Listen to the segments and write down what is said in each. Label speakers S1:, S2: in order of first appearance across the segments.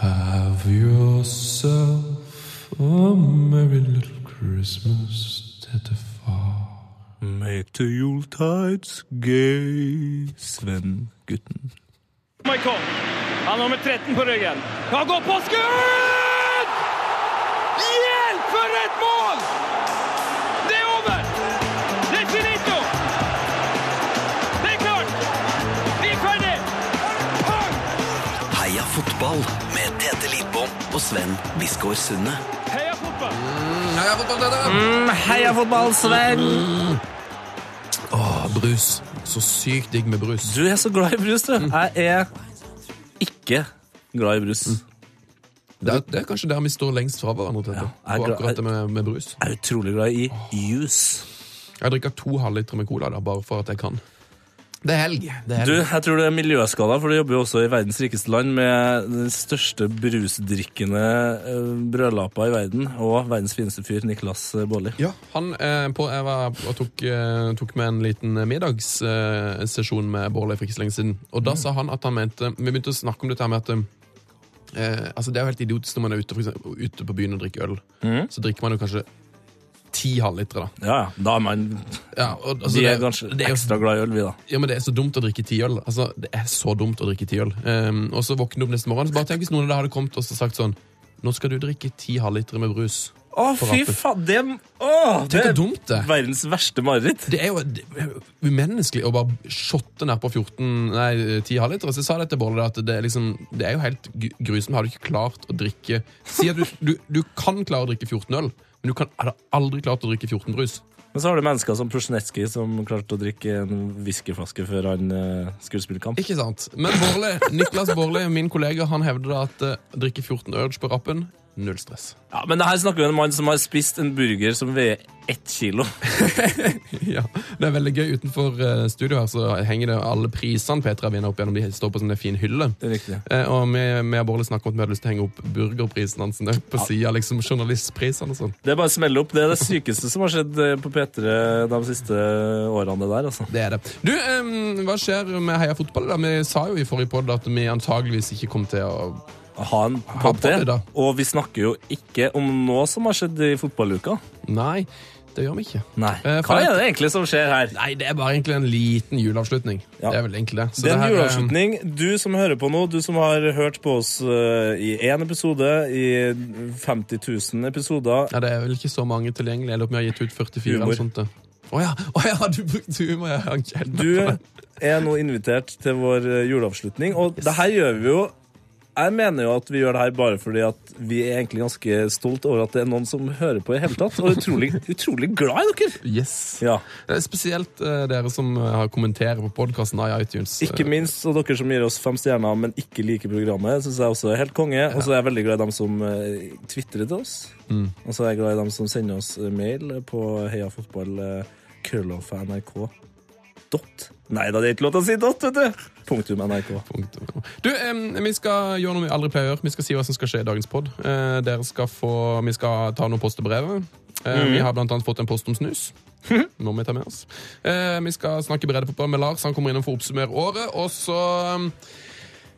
S1: Have yourself a merry little Christmas, tettefar.
S2: Meg til juletides gay, Sven-gutten.
S3: Michael. Han har nummer 13 på ryggen. Han går på skudd! Hjelp for et mål! Det er over! Det er finito! Det er klart! Vi er ferdig!
S4: Heia fotball med Tete Lidbom og Sven Biskår Sunde.
S3: Heia fotball!
S5: Heia fotball, Sven!
S1: Åh, brus. Så sykt digg med brus.
S5: Du jeg er så glad i brus, du. Jeg er ikke glad i brus. Jeg
S1: Det er, det er kanskje der vi står lengst fra hverandre. Tete.
S5: jeg er
S1: på
S5: glad-
S1: akkurat det med, med brus.
S5: er utrolig glad i juice.
S1: Jeg drikker to halvliter med cola, da, bare for at jeg kan. Det er helg. Det er
S5: Du,
S1: helg.
S5: jeg tror det er miljøskada, for du jobber jo også i verdens rikeste land med den største brusdrikkende eh, brødlapa i verden, og verdens fineste fyr, Niklas Baarli.
S1: Ja, han eh, på, jeg var, og tok, eh, tok med en liten middagssesjon eh, sesjon med Bård Leif Riks lenge siden. Og da
S5: Mm.
S1: sa han at han mente Vi begynte å snakke om dette her med at eh, Altså, det er jo helt idiotisk når man er ute, for eksempel, ute på byen og drikker øl.
S5: Mm.
S1: Så drikker man jo kanskje ti halvlitere, da.
S5: Ja, ja. Da er man
S1: Ja, og, altså,
S5: Vi er
S1: det-
S5: kanskje
S1: det er jo-
S5: ekstra glad i øl, vi, da.
S1: Ja, men Det er så dumt å drikke ti øl. Altså, det er så dumt å drikke ti øl. Ehm, og så våkne opp neste morgen, så bare tenk hvis noen da hadde kommet og så sagt sånn Nå skal du drikke ti halvlitere med brus.
S5: Å,
S1: På
S5: fy
S1: rappen.
S5: faen! Det, å, det
S1: Tenk
S5: er
S1: hvor dumt det er.
S5: verdens verste mareritt.
S1: Det er jo det er jo umenneskelig å bare shotte ned på 14, nei, 10 halvliter. Så jeg sa det til Bolle, da, at det er, liksom, det er jo helt gu- grusomt. Har du ikke klart å drikke Si at du, du, du kan klare å drikke 14 øl, men du kan, hadde aldri klart å drikke 14 brus.
S5: Men så har du mennesker som Prosjnetskij, som klarte å drikke en whiskyflaske før han eh, skulle spille kamp.
S1: Ikke sant? Men Borle, Niklas Borle, min kollega, han hevder da at eh, drikke 14 Urge på rappen null stress.
S5: Ja, Men det her snakker vi om en mann som har spist en burger som veier ett kilo.
S1: Ja, Det er veldig gøy. Utenfor eh, studio her så henger det alle prisene Petra vinner opp gjennom. De står på sånn en fin hylle.
S5: Det er riktig.
S1: Eh, og vi, vi har bare snakket om at vi hadde lyst til å henge opp burgerprisen hans ned på siden, liksom journalistprisen og sånn.
S5: Det er bare å smelle opp. Det er det sykeste som har skjedd eh, på P3 de siste årene. det der, altså.
S1: Det er det. Du, em, hva skjer med Heia Fotball? da? Vi sa jo i forrige podd at vi antageligvis ikke kom til å
S5: Ha en
S1: podd,
S5: pop til.
S1: da.
S5: Og vi snakker jo ikke om noe som har skjedd i fotballuka.
S1: Nei, det gjør vi ikke.
S5: Nei.
S1: Eh, for
S5: Hva
S1: at-
S5: er det egentlig som skjer her?
S1: Nei, det er bare egentlig en liten juleavslutning.
S5: Ja.
S1: Det er vel egentlig det. Så
S5: Det er
S1: det
S5: en
S1: her, eh, em,
S5: juleavslutning. Du som hører på nå, du som har hørt på oss eh, i én episode, i 50 000 episoder
S1: Ja, det er vel ikke så mange tilgjengelig. Jeg lurer på om vi har gitt ut 44
S5: Humor.
S1: eller sånt. det. Å ja. Å ja, du brukte humor! Jeg hang ikke helt med
S5: Du
S1: på det.
S5: er nå invitert til vår eh, juleavslutning, og det her gjør vi jo jeg mener jo at vi gjør det her bare fordi at vi er egentlig ganske stolt over at det er noen som hører på i hele tatt, og utrolig, utrolig glad i dere!
S1: Yes.
S5: Ja,
S1: Det er spesielt eh, dere som eh, har kommenterer på podkasten i iTunes. eh,
S5: Ikke minst og dere som gir oss fem stjerner, men ikke liker programmet. Synes jeg også er helt konge Og så er jeg veldig glad i dem som eh, twitterer til oss. Og så er jeg glad i dem som sender oss eh, mail på eh, heiafotball.krølloff.nrk. Dot. Nei da, det er ikke lov til å si dot, vet du! Punktum NRK.
S1: Punktum. Du, em, vi skal gjøre noe vi aldri pleier å gjøre. Vi skal si hva som skal skje i dagens pod. Eh, dere skal få, vi skal ta noen post til brevet.
S5: Mhm.
S1: Eh, Vi har blant annet fått en post om snus. Nå må vi ta med oss. Eh, vi skal snakke breddefotball med Lars. Han kommer innom for å oppsummere året. Og så em,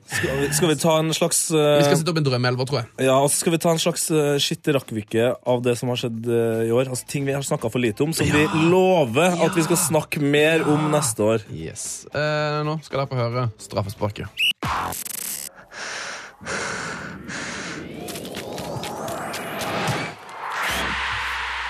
S5: Skal vi, skal vi ta en slags eh,
S1: Vi skal sette opp en drømmeelver, tror jeg.
S5: Ja, og så skal vi ta en slags uh, skitterakkvikke av det som har skjedd eh, i år. Altså Ting vi har snakka for lite om, som vi lover at vi skal snakke mer om neste år.
S1: Yes. Eh, nå skal dere få høre straffesparket.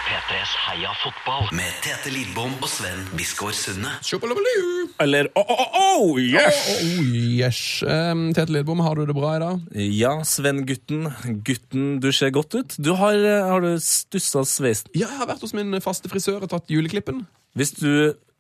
S4: P3s Heia fotball med Tete Lidbom og Sven Biskår Sunde.
S1: Tjopalabalu!
S5: Eller oh, oh, oh, oh, yes!
S1: Oh, yes. Em, Tete Lidbom, har du det bra i dag?
S5: Ja, Sven-gutten. Gutten, du ser godt ut. Du har, eh, har du stussa sveisen.
S1: Ja, jeg har vært hos min faste frisør og tatt juleklippen.
S5: Hvis du,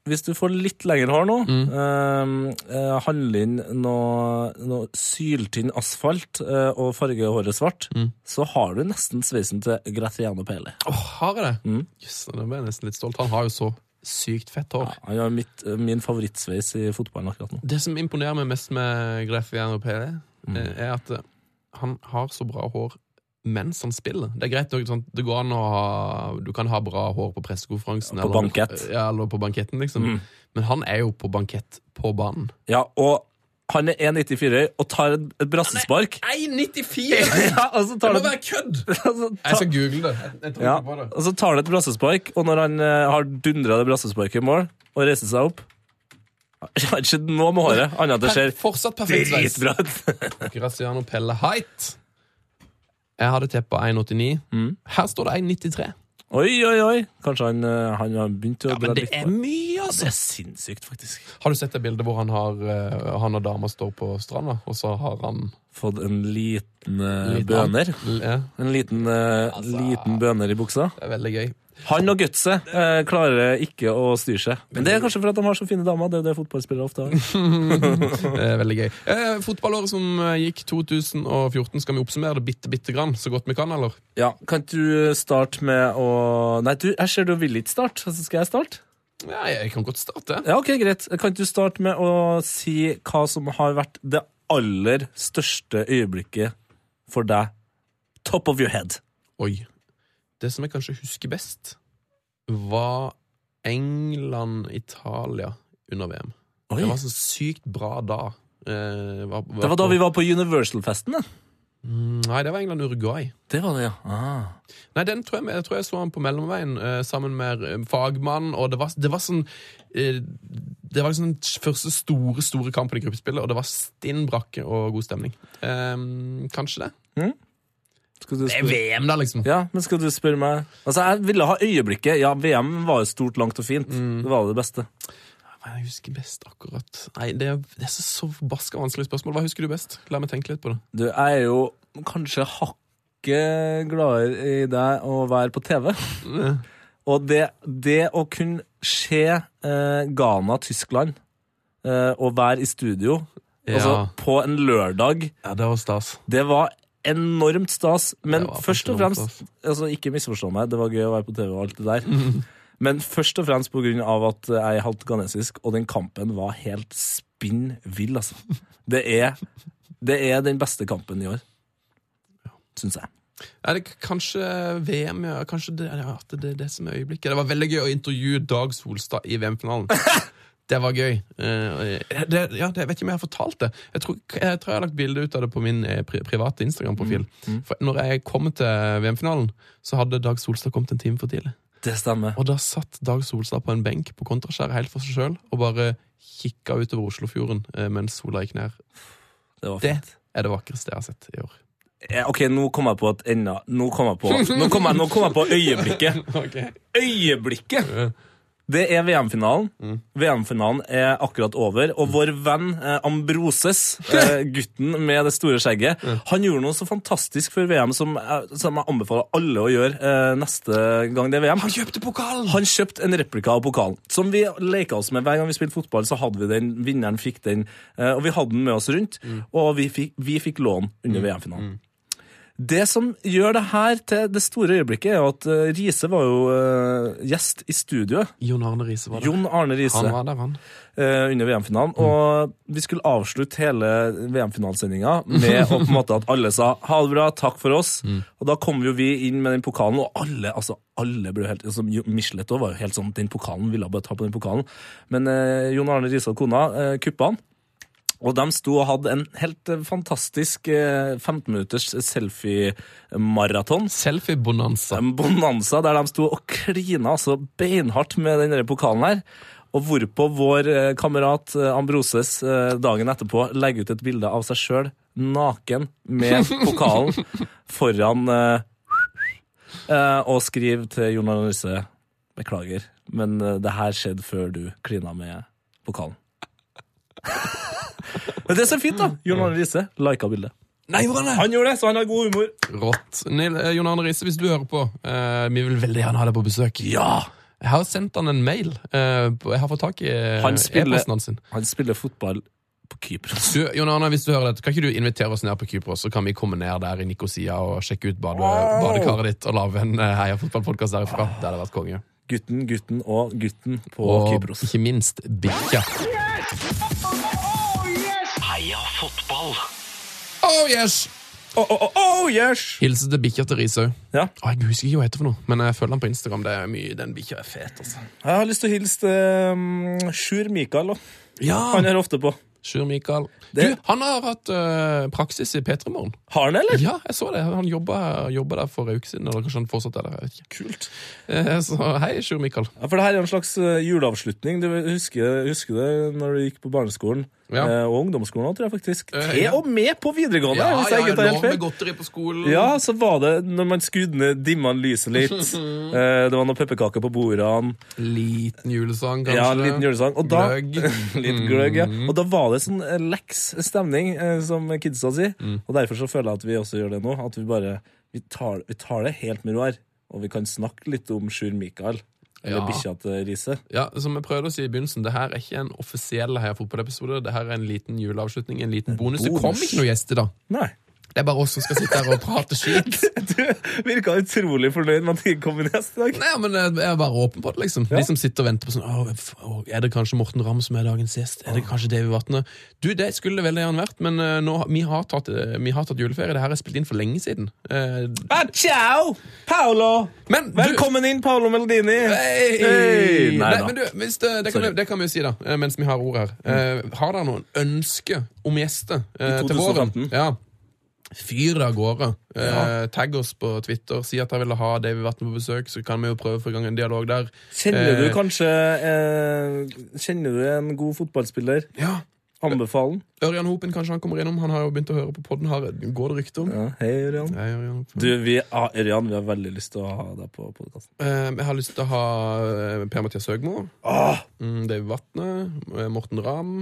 S5: hvis du får litt lengre hår nå, eh, eh, handle inn noe, noe syltynn asfalt eh, og farge håret svart, så har du nesten sveisen til Gratiano Pele.
S1: Åh, har jeg det? Jøss, nå ble jeg nesten litt stolt. Han har jo så sykt fett hår.
S5: Han har mitt, eh, min favorittsveis i fotballen akkurat nå.
S1: Det som imponerer meg mest med Greffian og Pele, eh, er at eh, han har så bra hår mens han spiller. Det er greit, nok, sånn, det går an å ha Du kan ha bra hår på Mm. pressekonferansen.
S5: På
S1: eller-
S5: bankett.
S1: Ja, eller på banketten, liksom. Men han er jo på bankett på banen.
S5: Ja, og Han er 1,94 og tar et et brassespark.
S1: 1,94!
S5: Ja, og så
S1: Det
S5: tar
S1: må
S5: han
S1: være kødd!
S5: altså,
S1: Jeg
S5: ta,
S1: skal google det. Jeg tror
S5: ja,
S1: ikke på det.
S5: og så tar han et brassespark, og når han eh, har dundra det brassesparket i mål og reiser seg opp Det har ikke skjedd noe med håret, annet enn at det ser
S1: Fortsatt perfekt sveis.
S5: dritbra ut.
S1: Graziano Pelle Height. Jeg hadde tippa 1,89. Her står det 1,93.
S5: Oi, oi, oi! Kanskje han, eh, han har begynt å
S1: Ja, men det
S5: på
S1: er mye,
S5: Det
S1: altså!
S5: er sinnssykt, faktisk.
S1: Har du sett det bildet hvor han, har, eh, han og dama står på stranda, og så har han
S5: Fått en liten eh,
S1: Liten Altså.
S5: bøner.
S1: L- ja,
S5: En liten, eh, liten bøner i buksa.
S1: Det er veldig gøy.
S5: Han og gutset eh, klarer ikke å styre seg. Men det er kanskje for at de har så fine damer. Det er jo det fotballspillere ofte har.
S1: Det er veldig gøy. Eh, fotballåret som eh, gikk 2014, skal vi oppsummere det bitte, bitte grann så godt vi kan, eller?
S5: Ja, Kan du starte med å Nei, du, jeg ser du vil ikke starte. Så skal jeg starte?
S1: Ja, jeg kan godt starte.
S5: Ja, ok, greit. Kan du starte med å si hva som har vært det aller største øyeblikket for deg? Top of your head.
S1: Oi. Det som jeg kanskje husker best, var England-Italia under VM.
S5: Oi.
S1: Det var så sykt bra da. Eh, var, var
S5: Det var da vi var på Universal-festen, det.
S1: Nei, det var England-Uruguay.
S5: Det var det, ja. Ah.
S1: Nei, den tror jeg, jeg tror jeg så han på mellomveien eh, sammen med eh, fagmann, og det var, det var sånn eh, Det var liksom den første store store kampen i gruppespillet, og det var stinn brakke og god stemning. Eh, kanskje det?
S5: Skal du
S1: Det
S5: spørre?
S1: er VM, da, liksom.
S5: Ja, men skal du spørre meg Altså, jeg ville ha øyeblikket. Ja, VM var jo stort, langt og fint. Det var det beste.
S1: Hva jeg husker best akkurat Nei, det er, det er så, så forbaska vanskelig spørsmål. Hva husker du best? La meg tenke litt på det.
S5: Du, jeg er jo kanskje hakket gladere i deg å være på TV. Og det, det å kunne se eh, Ghana, Tyskland, eh, og være i studio altså,
S1: Ja.
S5: på en lørdag,
S1: Ja, det var stas.
S5: det var enormt stas. Men
S1: Det var
S5: først og
S1: enormt
S5: fremst
S1: stas.
S5: altså, Ikke misforstå meg, det var gøy å være på TV og alt det der. Men først og fremst på grunn av at jeg er halvt ghanesisk, og den kampen var helt spinn vill, altså. Det er, det er den beste kampen i år, syns jeg.
S1: Ja, det, k- kanskje VM, ja. Kanskje det, ja, at det, det, er det som er øyeblikket. Det var veldig gøy å intervjue Dag Solstad i VM-finalen. Det var gøy. Eh, det, ja, det, jeg vet ikke om jeg har fortalt det. Jeg tror jeg, tror jeg har lagt bilde ut av det på min eh, pri private Instagram-profil.
S5: Mm,
S1: For Når jeg kom til VM-finalen, så hadde Dag Solstad kommet en time for tidlig.
S5: Det stemmer.
S1: Og da satt Dag Solstad på en benk på Kontraskjæret helt for seg sjøl og bare kikka utover Oslofjorden eh, mens sola gikk ned.
S5: Det var
S1: Det
S5: fint.
S1: er det vakreste jeg har sett i år.
S5: Eh, Ok, nå kom jeg på et enda Nå kom jeg på, nå kom jeg, nå kom jeg på øyeblikket. Øyeblikket! Det er VM-finalen. VM-finalen er akkurat over, og vår venn eh, Ambroses, eh, gutten med det store skjegget, han gjorde noe så fantastisk før VM som, jeg- som jeg anbefaler alle å gjøre eh, neste gang det er VM.
S1: Han kjøpte pokalen!
S5: Han kjøpte en replika av pokalen, som vi leka oss med. Hver gang vi spilte fotball, så hadde vi den, vinneren fikk den, eh, og vi hadde den med oss rundt,
S1: Mm.
S5: og vi fikk, vi fikk lån under VM-finalen. Det som gjør det her til det store øyeblikket, er jo at eh, Riise var jo eh, gjest i studioet.
S1: Jon Arne Riise var der.
S5: Jon Arne Riise
S1: Han var Mm. der, han.
S5: eh, under VM-finalen. Og vi skulle avslutte hele VM-finalsendinga med å, på en måte at alle sa ha det bra, takk for oss.
S1: Mm.
S5: Og da kom jo vi inn med den pokalen, og alle altså alle ble jo helt, altså, Jo- Michelet også var jo helt sånn den pokalen, ville bare ta på den pokalen. Men eh, Jon Arne Riise og kona eh, kuppa han. Og de sto og hadde en helt eh, fantastisk eh, 15-minutters selfie-maraton.
S1: Selfie-bonanza.
S5: En bonanza der de sto og klina altså beinhardt med denne pokalen her. Og hvorpå vår eh, kamerat eh, Ambroses eh, dagen etterpå legger ut et bilde av seg sjøl naken med pokalen foran eh, eh, og skriver til Jon Arne Riise Beklager, men eh, det her skjedde før du klina med pokalen. men det er så fint, da! Jon Arne Riise lika bildet.
S1: Nei, gjorde
S5: Han gjorde det, så han har god humor.
S1: Rått. Nil, eh, Jon Arne Riise, hvis du hører på, eh, vi vil veldig gjerne ha deg på besøk. Ja! Jeg har sendt han en mail. eh, på- jeg har fått tak i eh,
S5: Han spiller-
S1: e-posten hans. sin.
S5: Han spiller fotball på Kypros.
S1: Du, Jon Arne, hvis du hører dette, kan ikke du invitere oss ned på Kypros, så kan vi komme ned der i Nikosia og sjekke ut bade, badekaret ditt og lage en eh, heiafotballpodkast derifra? Det hadde vært konge.
S5: Gutten, gutten og gutten på
S1: Og
S5: Kypros.
S1: ikke minst bikkja.
S4: Heia fotball.
S1: Oh yes!
S5: Oh, oh, oh, yes!
S1: Hilsen til bikkja til Rishaug.
S5: Ja.
S1: Å, Jeg husker ikke hva hun heter for noe, men jeg følger han på Instagram. Det er mye, Den bikkja er fet, altså.
S5: Jeg har lyst til å hilse til um, Sjur Mikael. også.
S1: Ja!
S5: Han er ofte på.
S1: Sjur Mikael.
S5: Det-
S1: Du, han har hatt eh, praksis i P3morgen.
S5: Har han det, eller?
S1: Ja, jeg så det. Han jobba, jobba der for ei uke siden. Eller kanskje han fortsatt er der. jeg vet ikke.
S5: Kult.
S1: Eh, Så hei, Sjur Mikael.
S5: Ja, for det her er en slags eh, juleavslutning. Du husker, husker det når du gikk på barneskolen?
S1: Ja.
S5: Eh, Og ungdomsskolen òg, tror jeg faktisk.
S1: Eh,
S5: Til
S1: ja.
S5: og med på videregående! hvis jeg ikke tar helt feil.
S1: godteri på skolen.
S5: Ja, så var det når man skrudde ned dimmene lyset litt. eh, Det var noen pepperkaker på bordene.
S1: Liten julesang, kanskje.
S5: Ja, en liten julesang. Og da,
S1: Gløgg. Mm.
S5: litt gløgg, ja. Og da var det sånn eh, leks stemning, eh, som kidsa sier.
S1: Mm.
S5: Og derfor så føler jeg at vi også gjør det nå. At vi bare vi tar, vi tar det helt med ro her. Og vi kan snakke litt om Sjur Mikael. Eller
S1: Ja.
S5: bikkja til Riise.
S1: Ja, Som jeg prøvde å si i begynnelsen, det her er ikke en offisiell Heia fotball-episode. Det her er en liten juleavslutning, en liten bonus. Det
S5: bonus.
S1: kom ikke noen gjester, da.
S5: Nei.
S1: Det er bare oss som skal sitte her og prate skit.
S5: Du virka utrolig fornøyd med at det ikke kom en gjest i dag.
S1: Nei, men jeg jeg er bare åpen på det, liksom. De som sitter og venter på sånn «Åh, f- åh, Er det kanskje Morten Ramm som er dagens gjest? Er det kanskje Davy Vatne? Du, det skulle det veldig gjerne vært, men eh, nå, vi, har tatt, eh, vi har tatt juleferie. Det her er spilt inn for lenge siden. Eh,
S5: Ah, ciao, Paolo!
S1: Men du-
S5: Velkommen inn, Paolo Melodini!
S1: Hei!
S5: Hei!
S1: Nei,
S5: Nei da.
S1: men du, hvis det, det, kan,
S5: Sorry. Mm.
S1: det kan vi jo si, da, eh, mens vi har ordet her. Eh, har dere noen ønsker om gjester eh, til våren?
S5: 2015?
S1: Ja. Fyr det av gårde. Eh, Tagg oss på Twitter. Si at dere ville ha Davy Vatne på besøk, så kan vi jo prøve å få i gang en dialog der.
S5: Kjenner du
S1: Eh,
S5: kanskje eh, Kjenner du en god fotballspiller?
S1: Ja.
S5: Anbefalen?
S1: Ørjan Hopen, kanskje han kommer innom. Han har jo begynt å høre på podden. Har, går det rykte om?
S5: Ja, hei, Ørjan.
S1: Nei, Ørjan Hopen.
S5: Du, vi, ah, Ørjan, vi har veldig lyst til å ha deg på podkasten.
S1: Eh, jeg har lyst til å ha eh, Per-Mathias Høgmo.
S5: Ah,
S1: Mm, Davy Vatne. eh, Morten Ramm.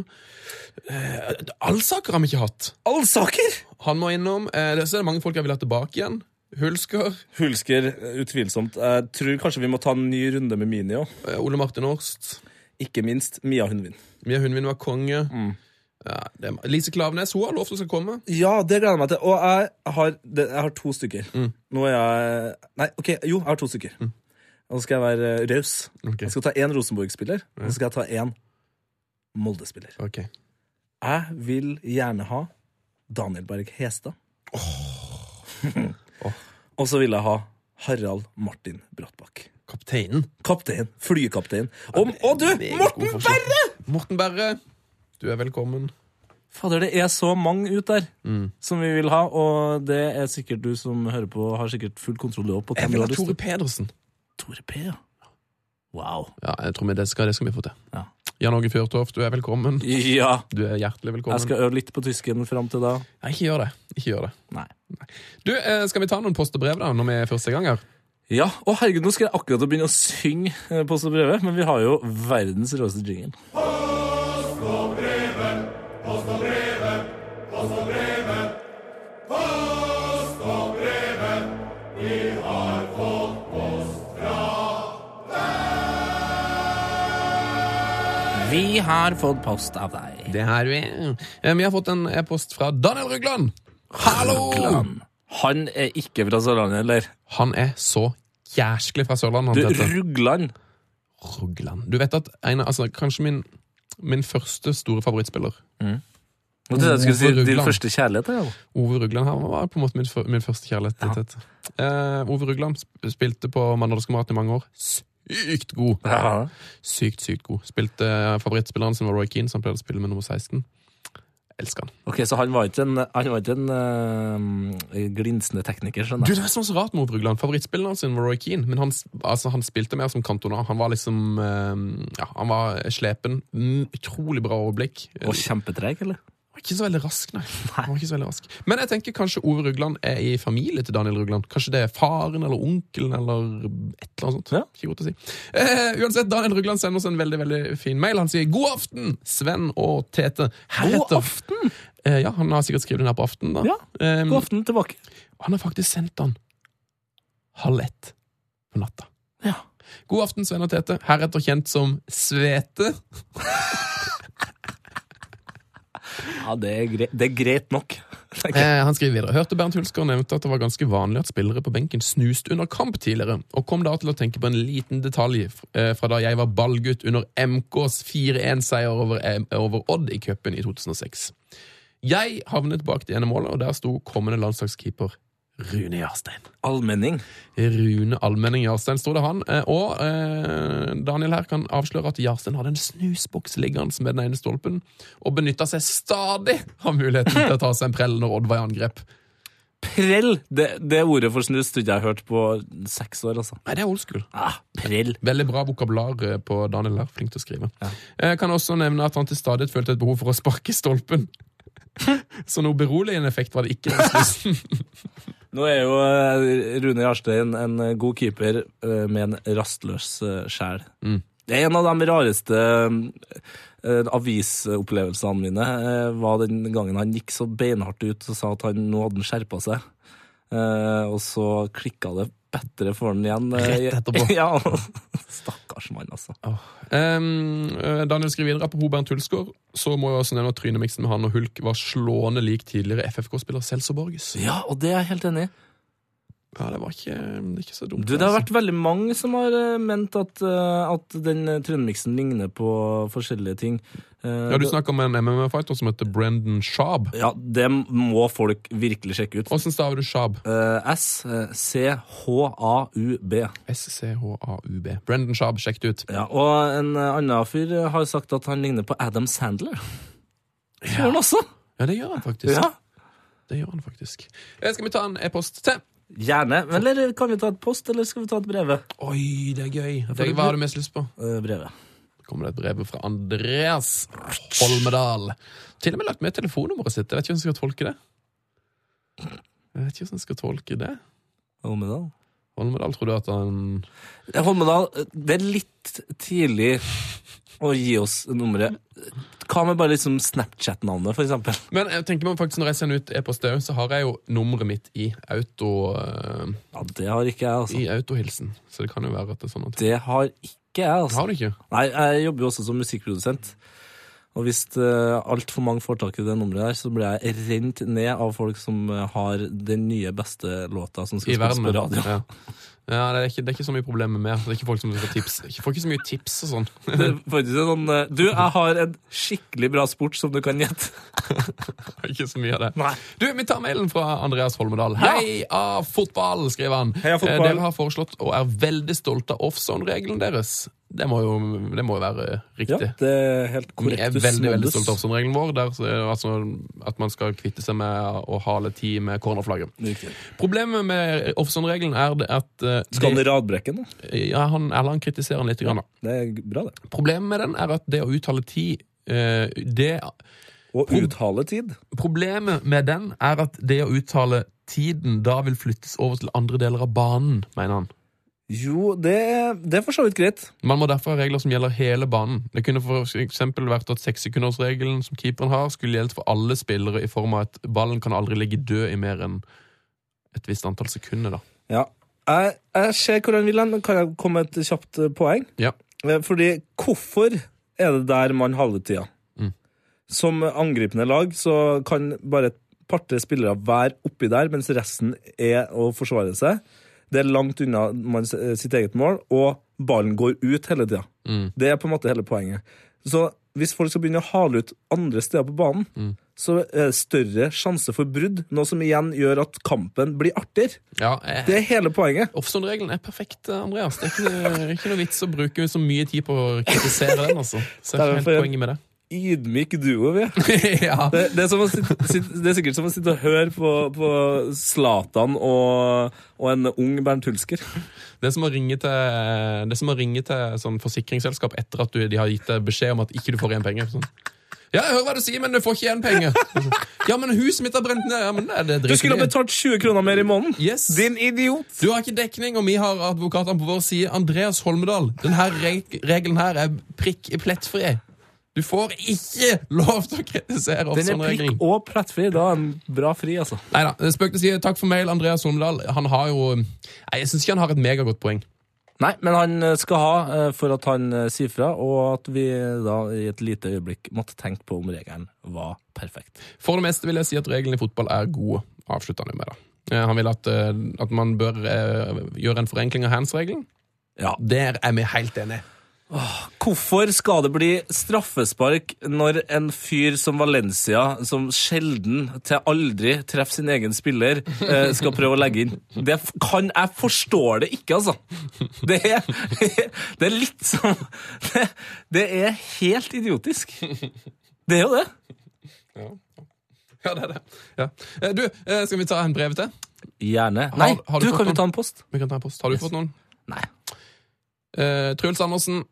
S1: Eh, Alsaker har vi ikke hatt.
S5: Allsaker!
S1: Han må innom. Eh, det- så er det mange folk jeg vil ha tilbake igjen. Hulsker,
S5: Hulsker, utvilsomt. Jeg tror kanskje vi må ta en ny runde med Mini òg.
S1: eh, Ole Martin Årst.
S5: Ikke minst Mia Hundvin.
S1: Mia Hundvin var konge. Ja, det er, Lise Klaveness hun har lovt å skal komme.
S5: Ja, det gleder jeg meg til. Og jeg har, det, jeg har to stykker. Nå er jeg Nei, ok, jo, jeg har to stykker. Og så skal jeg være eh, raus.
S1: Ok.
S5: Jeg skal ta én Rosenborg-spiller, og så skal jeg ta én Molde-spiller.
S1: Ok.
S5: Jeg vil gjerne ha Daniel Berg Hestad. og så vil jeg ha Harald Martin Brattbakk.
S1: Kapteinen.
S5: Kaptein. Flykaptein. Og, og du,
S1: Meget god
S5: Morten
S1: forsvar.
S5: Berre!
S1: Morten Berre, du er velkommen.
S5: Fader, det er så mange ut der
S1: Mm.
S5: som vi vil ha, og det er sikkert du som hører på, har sikkert full kontroll du også på
S1: Jeg
S5: hvem du
S1: vil ha
S5: har lyst
S1: Tore
S5: til.
S1: Pedersen.
S5: Tore P, ja. Wow.
S1: Ja, jeg tror vi, det, skal, det skal vi få til.
S5: Ja.
S1: Jan Åge Fjørtoft, du er velkommen.
S5: Ja.
S1: Du er hjertelig velkommen.
S5: Jeg skal øve litt på tysken fram til da.
S1: Nei, ikke gjør det. Ikke gjør det.
S5: Nei.
S1: Du, eh, skal vi ta noen post og brev da, når vi er første gang her?
S5: Ja, å herregud, nå skal jeg akkurat å begynne å synge eh, Post og brevet, men vi har jo verdens råeste jingle. Vi har fått post av deg.
S1: Det har vi. Eh, vi har fått en e-post fra Daniel Rugland. Hallo!
S5: Rugland. Han er ikke fra Sørlandet, eller?
S1: Han er så jæsklig fra Sørlandet.
S5: Du,
S1: han heter.
S5: Rugland.
S1: Rugland. Du vet at en, av- altså, kanskje min, min første store favorittspiller,
S5: Nå trodde jeg du skulle si
S1: Hvorfor
S5: din
S1: Rugland?
S5: første kjærlighet. da, Ja.
S1: Ove Rugland, han var på en måte min, fø- min første kjærlighet. Eh, Ove Rugland sp- spilte på Mandalskameratene i mange år. Sykt god!
S5: Ja.
S1: Sykt, sykt god. Spilte eh, favorittspilleren sin var Roy Keane, som pleide å spille med nummer 16. Elsker han.
S5: Ok, Så han var ikke en, han var ikke en eh, glinsende tekniker, skjønner
S1: Du,
S5: jeg.
S1: det var sånn så rart med Ove Rugland. Favorittspilleren sin var Roy Keane, men han, s- altså, han spilte mer som kantona. Han var liksom eh, Ja, han var slepen. Mm, Utrolig bra overblikk.
S5: Og kjempetreg, eller?
S1: var ikke så veldig rask, nei. Han var ikke så veldig rask. Men jeg tenker kanskje Ove Rugland er i familie til Daniel Rugland. Kanskje det er faren eller onkelen eller et eller annet sånt.
S5: Ja.
S1: Ikke godt å si. Eh, uansett, Daniel Rugland sender oss en veldig veldig fin mail. Han sier 'God aften, Sven og Tete'. Heretter-
S5: aften!
S1: Eh, ja, Han har sikkert skrevet den her på aften. da.
S5: Ja,
S1: Eh,
S5: God aften tilbake.
S1: han har faktisk sendt den halv ett på natta.
S5: Ja.
S1: God aften, Sven og Tete. Heretter kjent som Svete.
S5: Ja, det er, greit, det er greit nok.
S1: Eh, han skriver videre. Hørte Bernt Hulsker nevnte at det var ganske vanlig at spillere på benken snuste under kamp tidligere, og kom da til å tenke på en liten detalj f- eh, fra da jeg var ballgutt under MKs 4-1-seier over, M- over Odd i cupen i 2006. Jeg havnet bak det ene målet, og der sto kommende landslagskeeper Rune Jarstein.
S5: Allmenning.
S1: Rune Almenning Jarstein sto det han. Eh, Og eh, Daniel her kan avsløre at Jarstein hadde en snusboks liggende med den ene stolpen, og benytta seg stadig av muligheten til å ta seg en prell når Odd var i angrep.
S5: Prell! Det, det ordet for snus tror jeg ikke jeg har hørt på seks år, altså.
S1: Nei, det er old school.
S5: Ah, prell.
S1: Veldig bra vokabular eh, på Daniel her. Flink til å skrive. Jeg kan også nevne at han til stadighet følte et behov for å sparke stolpen. Så noe beroligende effekt var det ikke. den snusen.
S5: Nå er jo eh, Rune Jarstein en god keeper eh, med en rastløs eh, sjel.
S1: Mm.
S5: Det er en av de rareste eh, avisopplevelsene mine. eh, var den gangen han gikk så beinhardt ut og sa at han nå hadde han skjerpa seg. Eh, og så klikka det bedre for han igjen. eh,
S1: Rett etterpå.
S5: ja, Stakkars mann, altså.
S1: Em, eh, Daniel skriver videre apropos Bernt Hulsgaard. Så må jeg også nevne at trynemiksen med han og Hulk var slående lik tidligere FFK-spiller Celso Borges.
S5: Ja, og det er jeg helt enig i.
S1: Ja, det var ikke, det er ikke så dumt.
S5: Du, det har
S1: altså.
S5: vært veldig mange som har eh, ment at, eh, at den eh, trynemiksen ligner på forskjellige ting. Eh,
S1: Ja, Du snakker om en MMA-fighter som heter Brendan Schaab.
S5: Ja, det må folk virkelig sjekke ut.
S1: Åssen staver du Schaab?
S5: Eh, S, eh, C, H, A, U, B.
S1: S-C-H-A-U-B. Brendan Schaab, sjekk det ut.
S5: Ja, og en eh, annen fyr eh, har sagt at han ligner på Adam Sandler. Det Gjør han også?
S1: Ja, det gjør han faktisk.
S5: Ja.
S1: Det gjør han faktisk. Eh, Skal vi ta en e-post til?
S5: Gjerne. Men Eller kan vi ta et post, eller skal vi ta et brev?
S1: Oi, det er gøy.
S5: for det-
S1: hva har du mest lyst på?
S5: Eh, brevet.
S1: Kommer det et brev fra Andreas Holmedal. Til og med lagt med telefonnummeret sitt. Jeg vet ikke hvordan jeg skal tolke det. Jeg vet ikke hvordan jeg skal tolke det.
S5: Holmedal.
S1: Holmedal, tror du at han
S5: Eh, Holmedal, eh, det er litt tidlig å gi oss nummeret. Hva med bare liksom Snapchat-navnet, for eksempel?
S1: Men jeg tenker meg faktisk når jeg sender ut e-post, også, så har jeg jo nummeret mitt i auto eh,
S5: Ja, det har ikke jeg, altså.
S1: I autohilsen. Så det kan jo være at det er sånn at
S5: Det har ikke jeg, altså.
S1: Har du ikke?
S5: Nei, jeg jobber jo også som musikkprodusent. Og hvis uh, altfor mange får tak i det nummeret der, så blir jeg rent ned av folk som eh, har den nye, beste låta som skal
S1: I
S5: spilles
S1: verden.
S5: på radio.
S1: Ja. ja, det er, ikke, det er ikke så mye problemer med. Det er ikke folk som får tips. Jeg får ikke så mye tips og sånn.
S5: Det er faktisk en sånn eh, Du, jeg har en skikkelig bra sport som du kan gjette.
S1: Det er Ikke så mye av det.
S5: Nei.
S1: Du, Vi tar mailen fra Andreas Holmedal.
S5: Ja.
S1: Heia fotball, skriver han.
S5: Heia fotball.
S1: Eh, Dere har foreslått og er veldig stolte av offzone-regelen deres. Det må jo, det må jo være
S5: Ja,
S1: riktig.
S5: det er helt
S1: Vi er
S5: korrekt.
S1: veldig veldig stolte av offzone-regelen vår, der, eh, altså, at man skal kvitte seg med å hale tid med cornerflagget. Problemet med offzone-regelen er det at eh,
S5: Skal han
S1: det,
S5: i radbrekken, da?
S1: ja, han, eller han kritiserer den litt. Grann, da.
S5: Det er bra, det.
S1: Problemet med den er at det å uttale tid eh, det
S5: Og uttale tid.
S1: Problemet med den er at det å uttale tiden da vil flyttes over til andre deler av banen, mener han.
S5: Jo, det, det er for så vidt greit.
S1: Man må derfor ha regler som gjelder hele banen. Det kunne for eksempel vært at sekssekundersregelen som keeperen har, skulle gjeldt for alle spillere i form av at ballen kan aldri ligge død i mer enn et visst antall sekunder, da.
S5: Ja. Jeg, jeg ser hvor han vil hen. Kan jeg komme med et kjapt eh, poeng?
S1: Ja.
S5: Eh, Fordi hvorfor er det der man halve tida?
S1: Mm.
S5: Som angripende lag så kan bare et par-tre spillere være oppi der, mens resten er å forsvare seg. Det er langt unna man, s- eh, sitt eget mål, og ballen går ut hele tida.
S1: Mm.
S5: Det er på en måte hele poenget. Så hvis folk skal begynne å hale ut andre steder på banen,
S1: Mm.
S5: så er det større sjanse for brudd, noe som igjen gjør at kampen blir artigere.
S1: Ja, eh,
S5: Det er hele poenget.
S1: Offstone-regelen er perfekt, eh, Andreas. Det er ikke, ikke noe vits å bruke så mye tid på å kritisere den, altså. Så jeg
S5: Det er
S1: er helt
S5: for-
S1: poenget med det.
S5: Ydmyk duo, vi er.
S1: ja.
S5: Det, det, er som å sitte, sitte, det er sikkert som å sitte og høre på, på Zlatan og, og en ung Bernt Hulsker.
S1: Det er som å ringe til, det er som å ringe til sånn forsikringsselskap etter at du, de har gitt deg beskjed om at ikke du får igjen penger. Sånn. Ja, jeg hører hva du sier, men du får ikke igjen penger. Sånn. Ja, men huset mitt har brent ned. Ja, men det, det
S5: Du skulle ha
S1: driter vi i.
S5: betalt 20 kroner mer i måneden!
S1: Yes.
S5: Din idiot!
S1: Du har ikke dekning, og vi har advokatene på vår side. Andreas Holmedal, denne reg regelen her er prikk plettfri. Du får ikke lov til å kritisere
S5: Den Sånn er
S1: offsone-regelen.
S5: prikk og plettfri. Da er den bra fri, altså.
S1: Neida, spøk til side. Takk for mail, Andreas Holmedal. Han har jo Nei, jeg syns ikke han har et megagodt poeng.
S5: Nei, men han eh, skal ha eh, for at han eh, sier fra, og at vi da i et lite øyeblikk måtte tenke på om regelen var perfekt.
S1: For det meste vil jeg si at reglene i fotball er gode, avslutter han jo med. da. Eh, Han vil at, eh, at man bør eh, gjøre en forenkling av hands-regelen.
S5: Ja.
S1: Der er vi helt enige.
S5: Hvorfor skal det bli straffespark når en fyr som Valencia, som sjelden til aldri treffer sin egen spiller, eh, skal prøve å legge inn? Det f- kan Jeg forstår det ikke, altså. Det er, det er litt som det, det er helt idiotisk. Det er jo det.
S1: Ja, det er det. Ja. Eh, Du, eh, skal vi ta en brev til?
S5: Gjerne. Nei,
S1: Har- har du
S5: du,
S1: fått
S5: kan
S1: noen?
S5: jo ta en post.
S1: Vi kan ta en post. Har du fått noen?
S5: Nei.
S1: Eh, Truls Andersen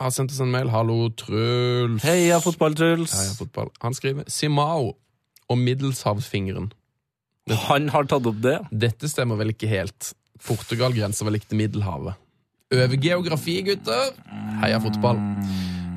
S1: har sendt oss en mail. Hallo, Truls.
S5: Heia fotball, Truls.
S1: Heia fotball. Han skriver Simao og middelshavsfingeren.
S5: Han har tatt opp det.
S1: Dette stemmer vel ikke helt. Portugal grenser vel ikke til Middelhavet. Over geografi, gutter! Heia fotball.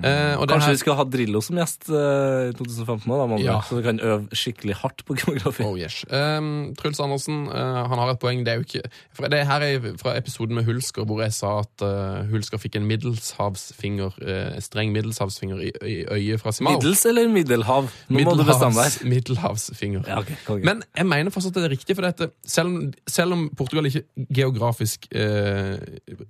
S1: Eh, og det
S5: Kanskje
S1: her-
S5: vi skal ha Drillo som gjest eh, i 2015, da, mann,
S1: Ja.
S5: så vi kan øve skikkelig hardt på geografi.
S1: Oh yes. Ehm, Truls Andersen eh, han har et poeng. Det er jo ikke for Det her er fra episoden med Hulsker, hvor jeg sa at eh, Hulsker fikk en middelshavsfinger eh, streng middelshavsfinger i, i øyet fra Simao.
S5: Middels eller middelhav? Nå må du bestemme deg.
S1: middelhavsfinger.
S5: Ja, ok, konge.
S1: Men jeg mener fortsatt at det er riktig, for dette, selv, om, selv om Portugal ikke geografisk eh,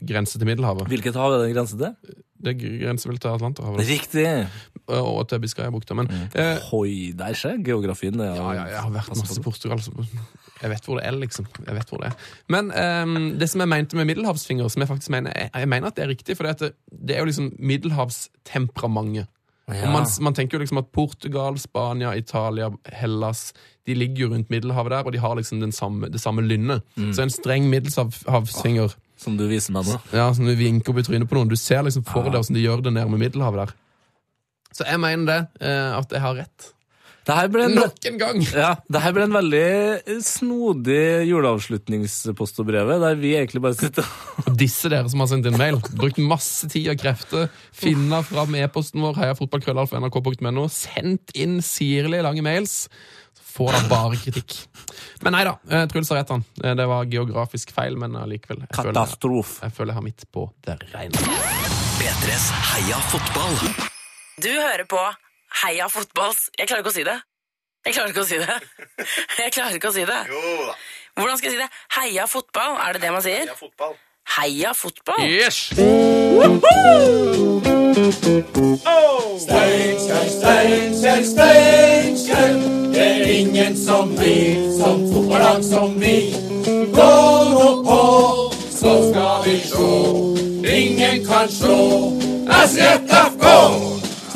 S1: grenser til Middelhavet
S5: Hvilket hav er den grensen til?
S1: Det grenser vel til Atlanterhavet da.
S5: Riktig!
S1: og til Biscayabukta. Men
S5: Mm.
S1: eh,
S5: Hoi, der skjer geografien. Ja,
S1: Ja, ja, jeg har vært masse i Portugal. Så jeg vet hvor det er, liksom. Jeg vet hvor det er. Men ehm, det som jeg mente med middelhavsfinger, som jeg faktisk mener jeg, jeg mener at det er riktig, for det, at det, det er jo liksom middelhavstemperamentet. Og Man, man tenker jo liksom at Portugal, Spania, Italia, Hellas de ligger jo rundt Middelhavet der, og de har liksom den samme, det samme lynnet. Så en streng middelhavsfinger
S5: Som du viser meg nå.
S1: ja, som du vinker opp i trynet på noen. Du ser liksom for deg hvordan de gjør det nede med Middelhavet der. Så jeg mener det, eh, at jeg har rett.
S5: Det her ble en,
S1: Nok en gang!
S5: ja, det her ble en veldig snodig juleavslutningspost og brevet, der vi egentlig bare sitter
S1: disse dere som har sendt inn mail. Brukt masse tid og krefter. Finne fram e-posten vår, heiafotballkrøllalfa.nrk.no. Sendt inn sirlig lange mails. Så får dere bare kritikk. Men nei da, eh, Truls har rett, han. Eh, Det var geografisk feil, men allikevel. Jeg føler,
S5: Katastrofe.
S1: jeg føler jeg har midt på det rene.
S4: P3s Heia fotball.
S6: Du hører på Heia fotballs Jeg klarer ikke å si det. Jeg klarer ikke å si det. Jeg klarer ikke å si det. Hvordan skal jeg si det? Heia fotball, er det det man sier? Heia fotball. Heia fotball?
S1: Yes!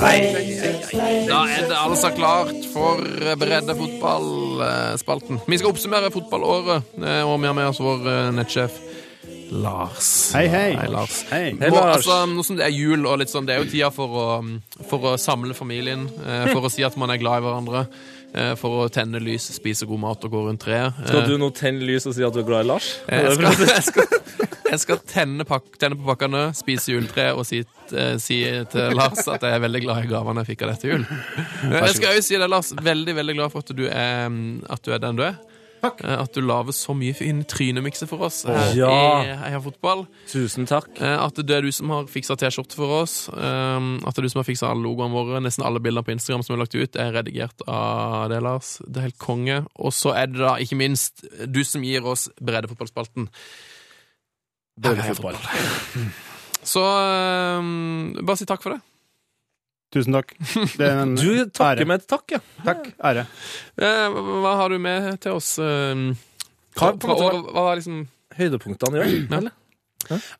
S1: Da er det altså klart for breddefotballspalten. Vi skal oppsummere fotballåret, eh, og vi har med oss vår eh, nettsjef Lars.
S7: Hei, hei.
S1: Hei, Lars.
S7: Hei.
S5: Hei,
S1: Og,
S5: Lars.
S1: altså, nå som det er jul, og litt sånn, det er jo tida for å, for å samle familien. eh, For å si at man er glad i hverandre. eh, For å tenne lys, spise god mat og gå rundt treet. Eh,
S5: Skal du nå tenne lys og si at du er glad i Lars?
S1: jeg skal, jeg skal, jeg skal tenne, pak tenne på pakkene, spise juletre og si, eh, si til Lars at jeg er veldig glad i gavene jeg fikk av dette jul. Eh, Jeg skal også si deg, Lars, veldig veldig glad for at du er, at du er den du er. Eh, At du lager så mye fine trynemikser for oss her
S5: Ja.
S1: i Heia Fotball.
S5: Tusen takk.
S1: Eh, At det er du som har fiksa T-skjorte for oss. ehm, At det er du som har fiksa alle logoene våre. Nesten alle bildene på Instagram som er lagt ut, er redigert av det, Lars. Det er helt konge. Og så er det da ikke minst du som gir oss breddefotballspalten.
S5: Dårlig fotball.
S1: Så ehm, bare si takk for det.
S7: Tusen takk. Det er en
S5: Du
S7: ære.
S5: takker med et takk, ja.
S7: Takk. Ære.
S1: Eh, Hva har du med til oss? ehm,
S5: Hva-
S1: fra, fra året, hva Mm. var liksom
S5: Høydepunktene, ja. Eller?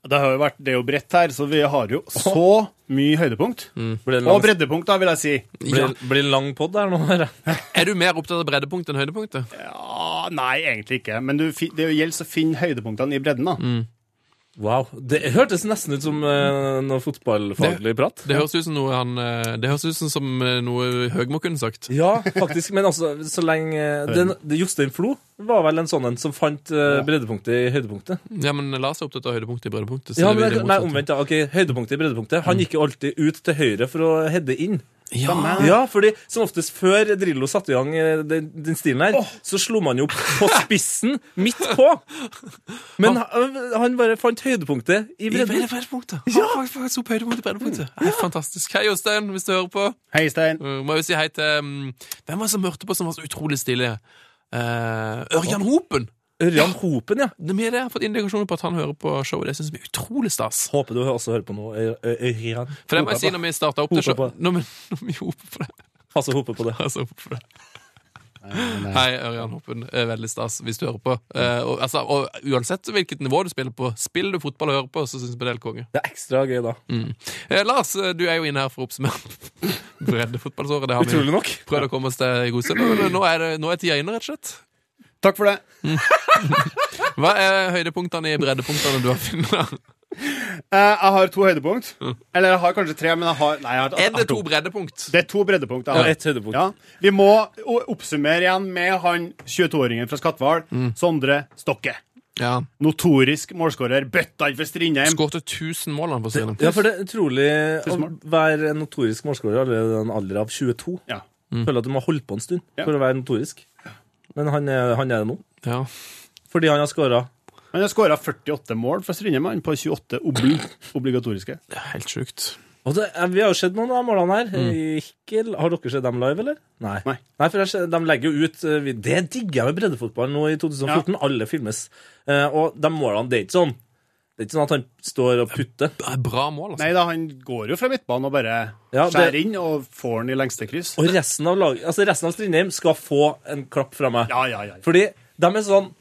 S7: Det, har jo vært, det er jo bredt her, så vi har jo så mye høydepunkt.
S5: Blir det en
S7: Og
S5: lang,
S7: breddepunkt, da, vil jeg si.
S1: ja.
S5: blir, blir det en lang podd her nå? Eller?
S1: Er du mer opptatt av breddepunkt enn høydepunktet?
S7: Ja, nei, egentlig ikke. Men du, fi- det gjelder å finne høydepunktene i bredden, da.
S5: Wow. Det hørtes nesten ut som eh, noe fotballfaglig prat.
S1: Det høres ut som noe han eh, Det høres ut som, som eh, noe Høgmo kunne sagt.
S5: Ja, faktisk. Men altså, så lenge den, det, Jostein Flo var vel en sånn en som fant eh, breddepunktet i høydepunktet.
S1: Ja, men Lars er opptatt av høydepunktet i breddepunktet. så
S5: Ja,
S1: det
S5: men,
S1: blir det
S5: nei,
S1: motsatte.
S5: omvendt. Ja. Mm. Ok, høydepunktet i breddepunktet. Han gikk jo alltid ut til høyre for å heade inn.
S1: Ja.
S5: Ja, fordi som oftest før Drillo satte i gang eh, den, den stilen her, så slo man jo på spissen midt på. Men han, han bare fant høydepunktet i
S1: I
S5: bredden.
S1: breddepunktet. Ja. Han faktisk opp høydepunktet i breddepunktet. Det er fantastisk. Hei, Jostein, hvis du hører på.
S7: Hei, Stein.
S1: Uh, Må jeg jo si mm, hei til um, Hvem var det som hørte på som var så utrolig stille? Eh, Ørjan Hopen!
S5: Ørjan Hopen, ja.
S1: Det er mer jeg har fått indikasjoner på at han hører på showet. Det synes vi er utrolig stas.
S5: Håper du også hører på noe. eh, Ø- Ø- Ørjan.
S1: For det må jeg si når vi startet opp det
S5: Hopa på
S1: showet. Når vi, når vi hoper på det.
S5: Altså, hoper på det.
S1: Altså, hoper på det. Hei, Ørjan Hoppen. Eh, Veldig stas hvis du hører på. Eh, og, altså, og uansett hvilket nivå du spiller på, spiller du fotball og hører på, så syns vi det er helt konge.
S5: Det er ekstra gøy, da.
S1: Eh, Lars, eh, du er jo inne her for å oppsummere breddefotballsåret. Det har vi
S5: Utrolig nok.
S1: prøvd å komme oss til i god stund, men nå er, det, nå er tida inne, rett og slett.
S7: Takk for det.
S1: Hva er høydepunktene i breddepunktene du har funnet?
S7: Eh, Jeg har to høydepunkt. Eller jeg har kanskje tre, men jeg har Nei, jeg har,
S1: Er det to breddepunkt?
S7: Det er to breddepunkt.
S5: Og
S7: Jeg har.
S5: ett høydepunkt.
S7: Ja. Vi må o- oppsummere igjen med han 22-åringen fra Skatval,
S5: Mm.
S7: Sondre Stokke.
S1: Ja.
S7: Notorisk målskårer. Bøtta inn for Strindheim.
S1: Skårte 1000 mål han på Strindheim.
S5: Ja, for det er utrolig å
S7: Tusen mål.
S5: være en notorisk målskårer allerede i en alder av 22.
S7: Ja.
S1: Mm.
S5: Føler at du må holde på en stund
S7: Ja.
S5: for å være notorisk. Men han er, han er det nå.
S1: Ja.
S5: Fordi han har skåra.
S7: Han har skåra 48 mål for Strindheim han, på 28 obli obligatoriske.
S1: Det er helt sjukt.
S5: Og det, eh, vi har jo sett noen av målene her.
S1: Mm.
S5: Ikke, har dere sett dem live, eller? Nei.
S7: Nei.
S5: for jeg, ser- de legger jo ut eh, vi- Det digger jeg med breddefotball nå i 2014. Alle filmes. Eh, og de målene, det er ikke sånn Det er ikke sånn at han står og putter.
S1: Det er Bra mål, altså.
S7: Nei da, han går jo fra midtbanen og bare
S5: Ja, det-
S7: skjærer inn og får den i lengste kryss.
S5: Og resten av, lag, altså resten av Strindheim skal få en klapp fra meg.
S7: Ja, ja, ja.
S5: Fordi de er sånn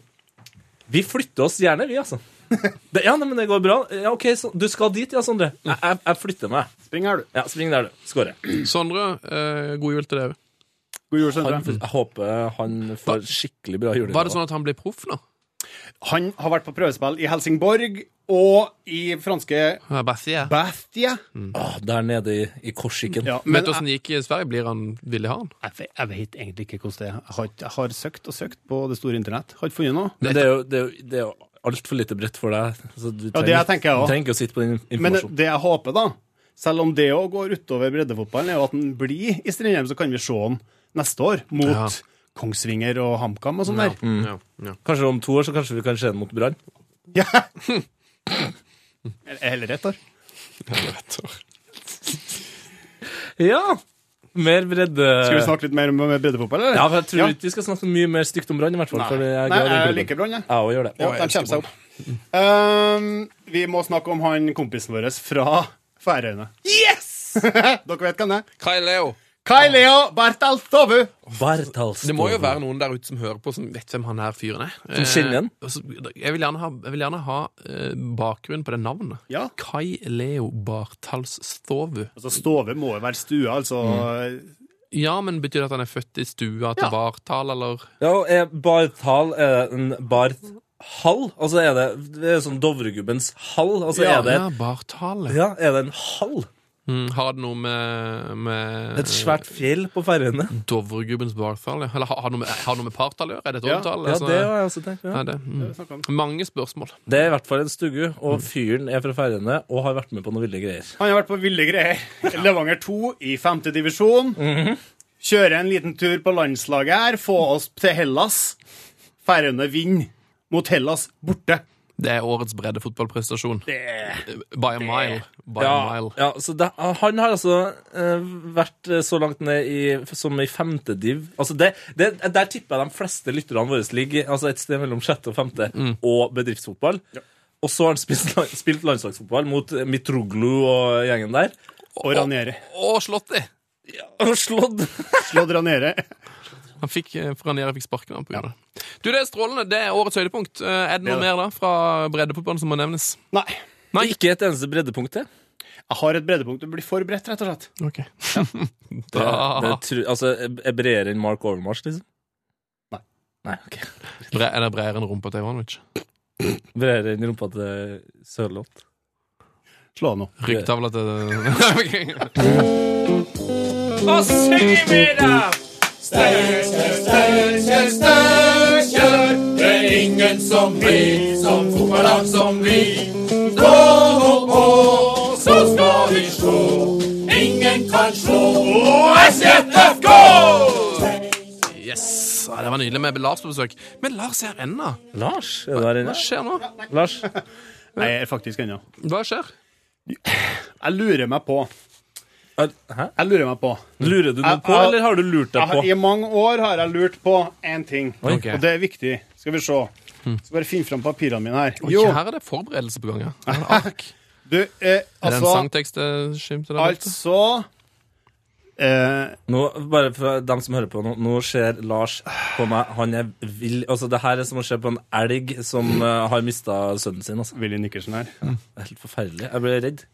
S5: Vi flytter oss gjerne, vi, altså. Det, ja, nei, men det går bra. Ja, OK, så, du skal dit, ja, Sondre.
S7: Mm.
S5: Jeg, jeg, jeg flytter meg.
S7: Spring her, du.
S5: Ja, Spring der, du. Skårer.
S1: Sondre, eh, god jul til deg òg.
S7: God jul, Sondre.
S5: Han- Jeg håper han får skikkelig bra julegave.
S1: Var det sånn at han ble proff nå?
S7: Han har vært på prøvespill i Helsingborg og i franske
S1: Ja, bare sier jeg.
S7: Bastia.
S5: Åh, Der nede i, i Korsiken.
S7: Ja,
S1: Vet
S7: men
S1: du åssen det gikk i Sverige? Blir han, vil de ha han?
S7: jeg, jeg, jeg vet egentlig ikke hvordan det er. Jeg har, ikke- jeg har søkt og søkt på det store internett. Har ikke funnet noe.
S5: Men det er jo, det er jo, det er jo altfor lite bredt for deg. Så du
S7: Ja, det tenker jeg også.
S5: Du trenger ikke å sitte på den
S7: Men
S5: informasjonen.
S7: det jeg håper, da, selv om det òg går utover breddefotballen, er jo at han blir i Strindheim, så kan vi se han neste år mot
S1: Ja.
S7: Kongsvinger og HamKam og sånn der.
S5: Mm.
S1: Ja, ja.
S5: Kanskje om to år så kanskje vi kan se den mot Brann.
S7: Ja. Eller- Eller ett år.
S5: Ja! Mer bredde...
S7: Skal vi snakke litt mer om om breddefotball, eller?
S5: Ja, for jeg tror
S7: Ja.
S5: ikke vi skal snakke mye mer stygt om Brann, i hvert fall.
S7: Nei.
S5: for jeg er
S7: Nei,
S5: glad i
S7: jeg
S5: klubben.
S7: liker Brann, jeg.
S5: Jeg også gjør det.
S7: Ja, de kommer seg opp. Ehm, vi må snakke om han kompisen vår fra Færøyene. Yes! Dere vet hvem det er.
S1: Kai Leo,
S7: Kai Leo Bartaltovu.
S5: Bartals-
S1: det må jo være noen der ute som hører på, som vet hvem han her fyren er.
S5: Som kjenner igjen?
S1: Eh, og så- Jeg vil gjerne ha, jeg vil gjerne ha eh, bakgrunn på det navnet.
S7: Ja.
S1: Kai Leo Bartals Stovu.
S7: Altså, Stove må jo være stua, altså.
S1: Ja, men betyr det at han er født i stua til
S7: Ja.
S1: Bartal, eller
S5: Ja, og er Bartal er det en Barthall? Altså er det, det er sånn Dovregubbens hall? Altså
S7: Ja,
S5: er det
S1: Ja, Bartal.
S5: ja, er det en hall?
S1: Mm, har det noe med, med
S5: Et svært fjell på Færøyene?
S1: Dovregubbens Bartal? ja? Eller har har det noe med, har det noe med partall å gjøre? Er det et
S7: Ja.
S1: overtall?
S5: Ja,
S1: Altså,
S5: det har jeg også tenkt.
S1: ja,
S5: Ja.
S1: det,
S7: snakket
S1: mm. Mange spørsmål.
S5: Det er i hvert fall en stugge, og fyren er fra Færøyene og har vært med på noen ville greier.
S7: Han har vært på ville greier. Levanger 2 i femte divisjon. Kjøre en liten tur på landslaget her, få oss til Hellas. Færøyene vinner mot Hellas borte.
S1: Det er årets breddefotballprestasjon. Eh,
S7: Det er
S1: By a mile. By a
S5: Ja,
S1: mile.
S5: ja, så det, han har altså eh, vært eh, så langt ned i, som i femte div. Altså det, det, der tipper jeg de fleste lytterne våre ligger altså et sted mellom sjette og femte,
S1: Mm.
S5: og bedriftsfotball. Og så har han spilt, la- spilt landslagsfotball mot eh, Mitroglou og gjengen der.
S7: Og Ranieri.
S1: Og slått det!
S5: Og slått!
S7: Slått Ranieri.
S1: Han fikk, eh, for han gjerne fikk sparken han på grunn av det. Du, det er strålende. Det er årets høydepunkt. Eh, Er det noe
S7: Det er det.
S1: mer da fra breddefotballen som må nevnes?
S7: Nei.
S1: Nei.
S5: Ikke et eneste breddepunkt til.
S7: Jeg har et breddepunkt. Det blir for bredt, rett og slett.
S1: Ok.
S5: Det, det,
S1: da,
S5: tru- altså, er bredere enn Mark Overmars, liksom?
S7: Nei.
S5: Nei, ok.
S1: Bre- er det bredere enn rumpa til Ivanovic?
S5: Bredere enn rumpa til Sørloth.
S7: Slå av nå.
S1: Ryggtavla til Ok. Yes! Ja, det var nydelig med Lars på besøk. Men Lars er her ennå.
S5: Lars, er du der
S1: Hva
S5: inne?
S1: skjer nå?
S5: Lars?
S7: Nei, jeg er faktisk ennå.
S1: Hva skjer?
S7: Jeg lurer meg på.
S5: Er- Hæ?
S7: Jeg lurer meg på.
S5: Lurer du noe
S7: Jeg-
S5: på,
S7: jeg-
S5: eller har du lurt
S7: Jeg
S5: deg
S7: har,
S5: på?
S7: I mange år har jeg lurt på én ting,
S1: Ok.
S7: og det er viktig. Skal vi se. Skal bare finne fram papirene mine her.
S1: Hmm. Oi,
S7: Jo,
S1: Her er det forberedelse på gang, ja. Her Er det ark?
S7: du, eh,
S1: Er det en
S7: altså
S1: sangtekst det skimter der? borte?
S7: Altså eh,
S5: Nå, bare for dem som hører på nå, nå ser Lars på meg Han er vill Altså, det her er som å se på en elg som
S7: Mm.
S5: eh, har mista sønnen sin, altså.
S7: Willy Nikkersen her.
S5: Det er helt forferdelig. Jeg ble redd.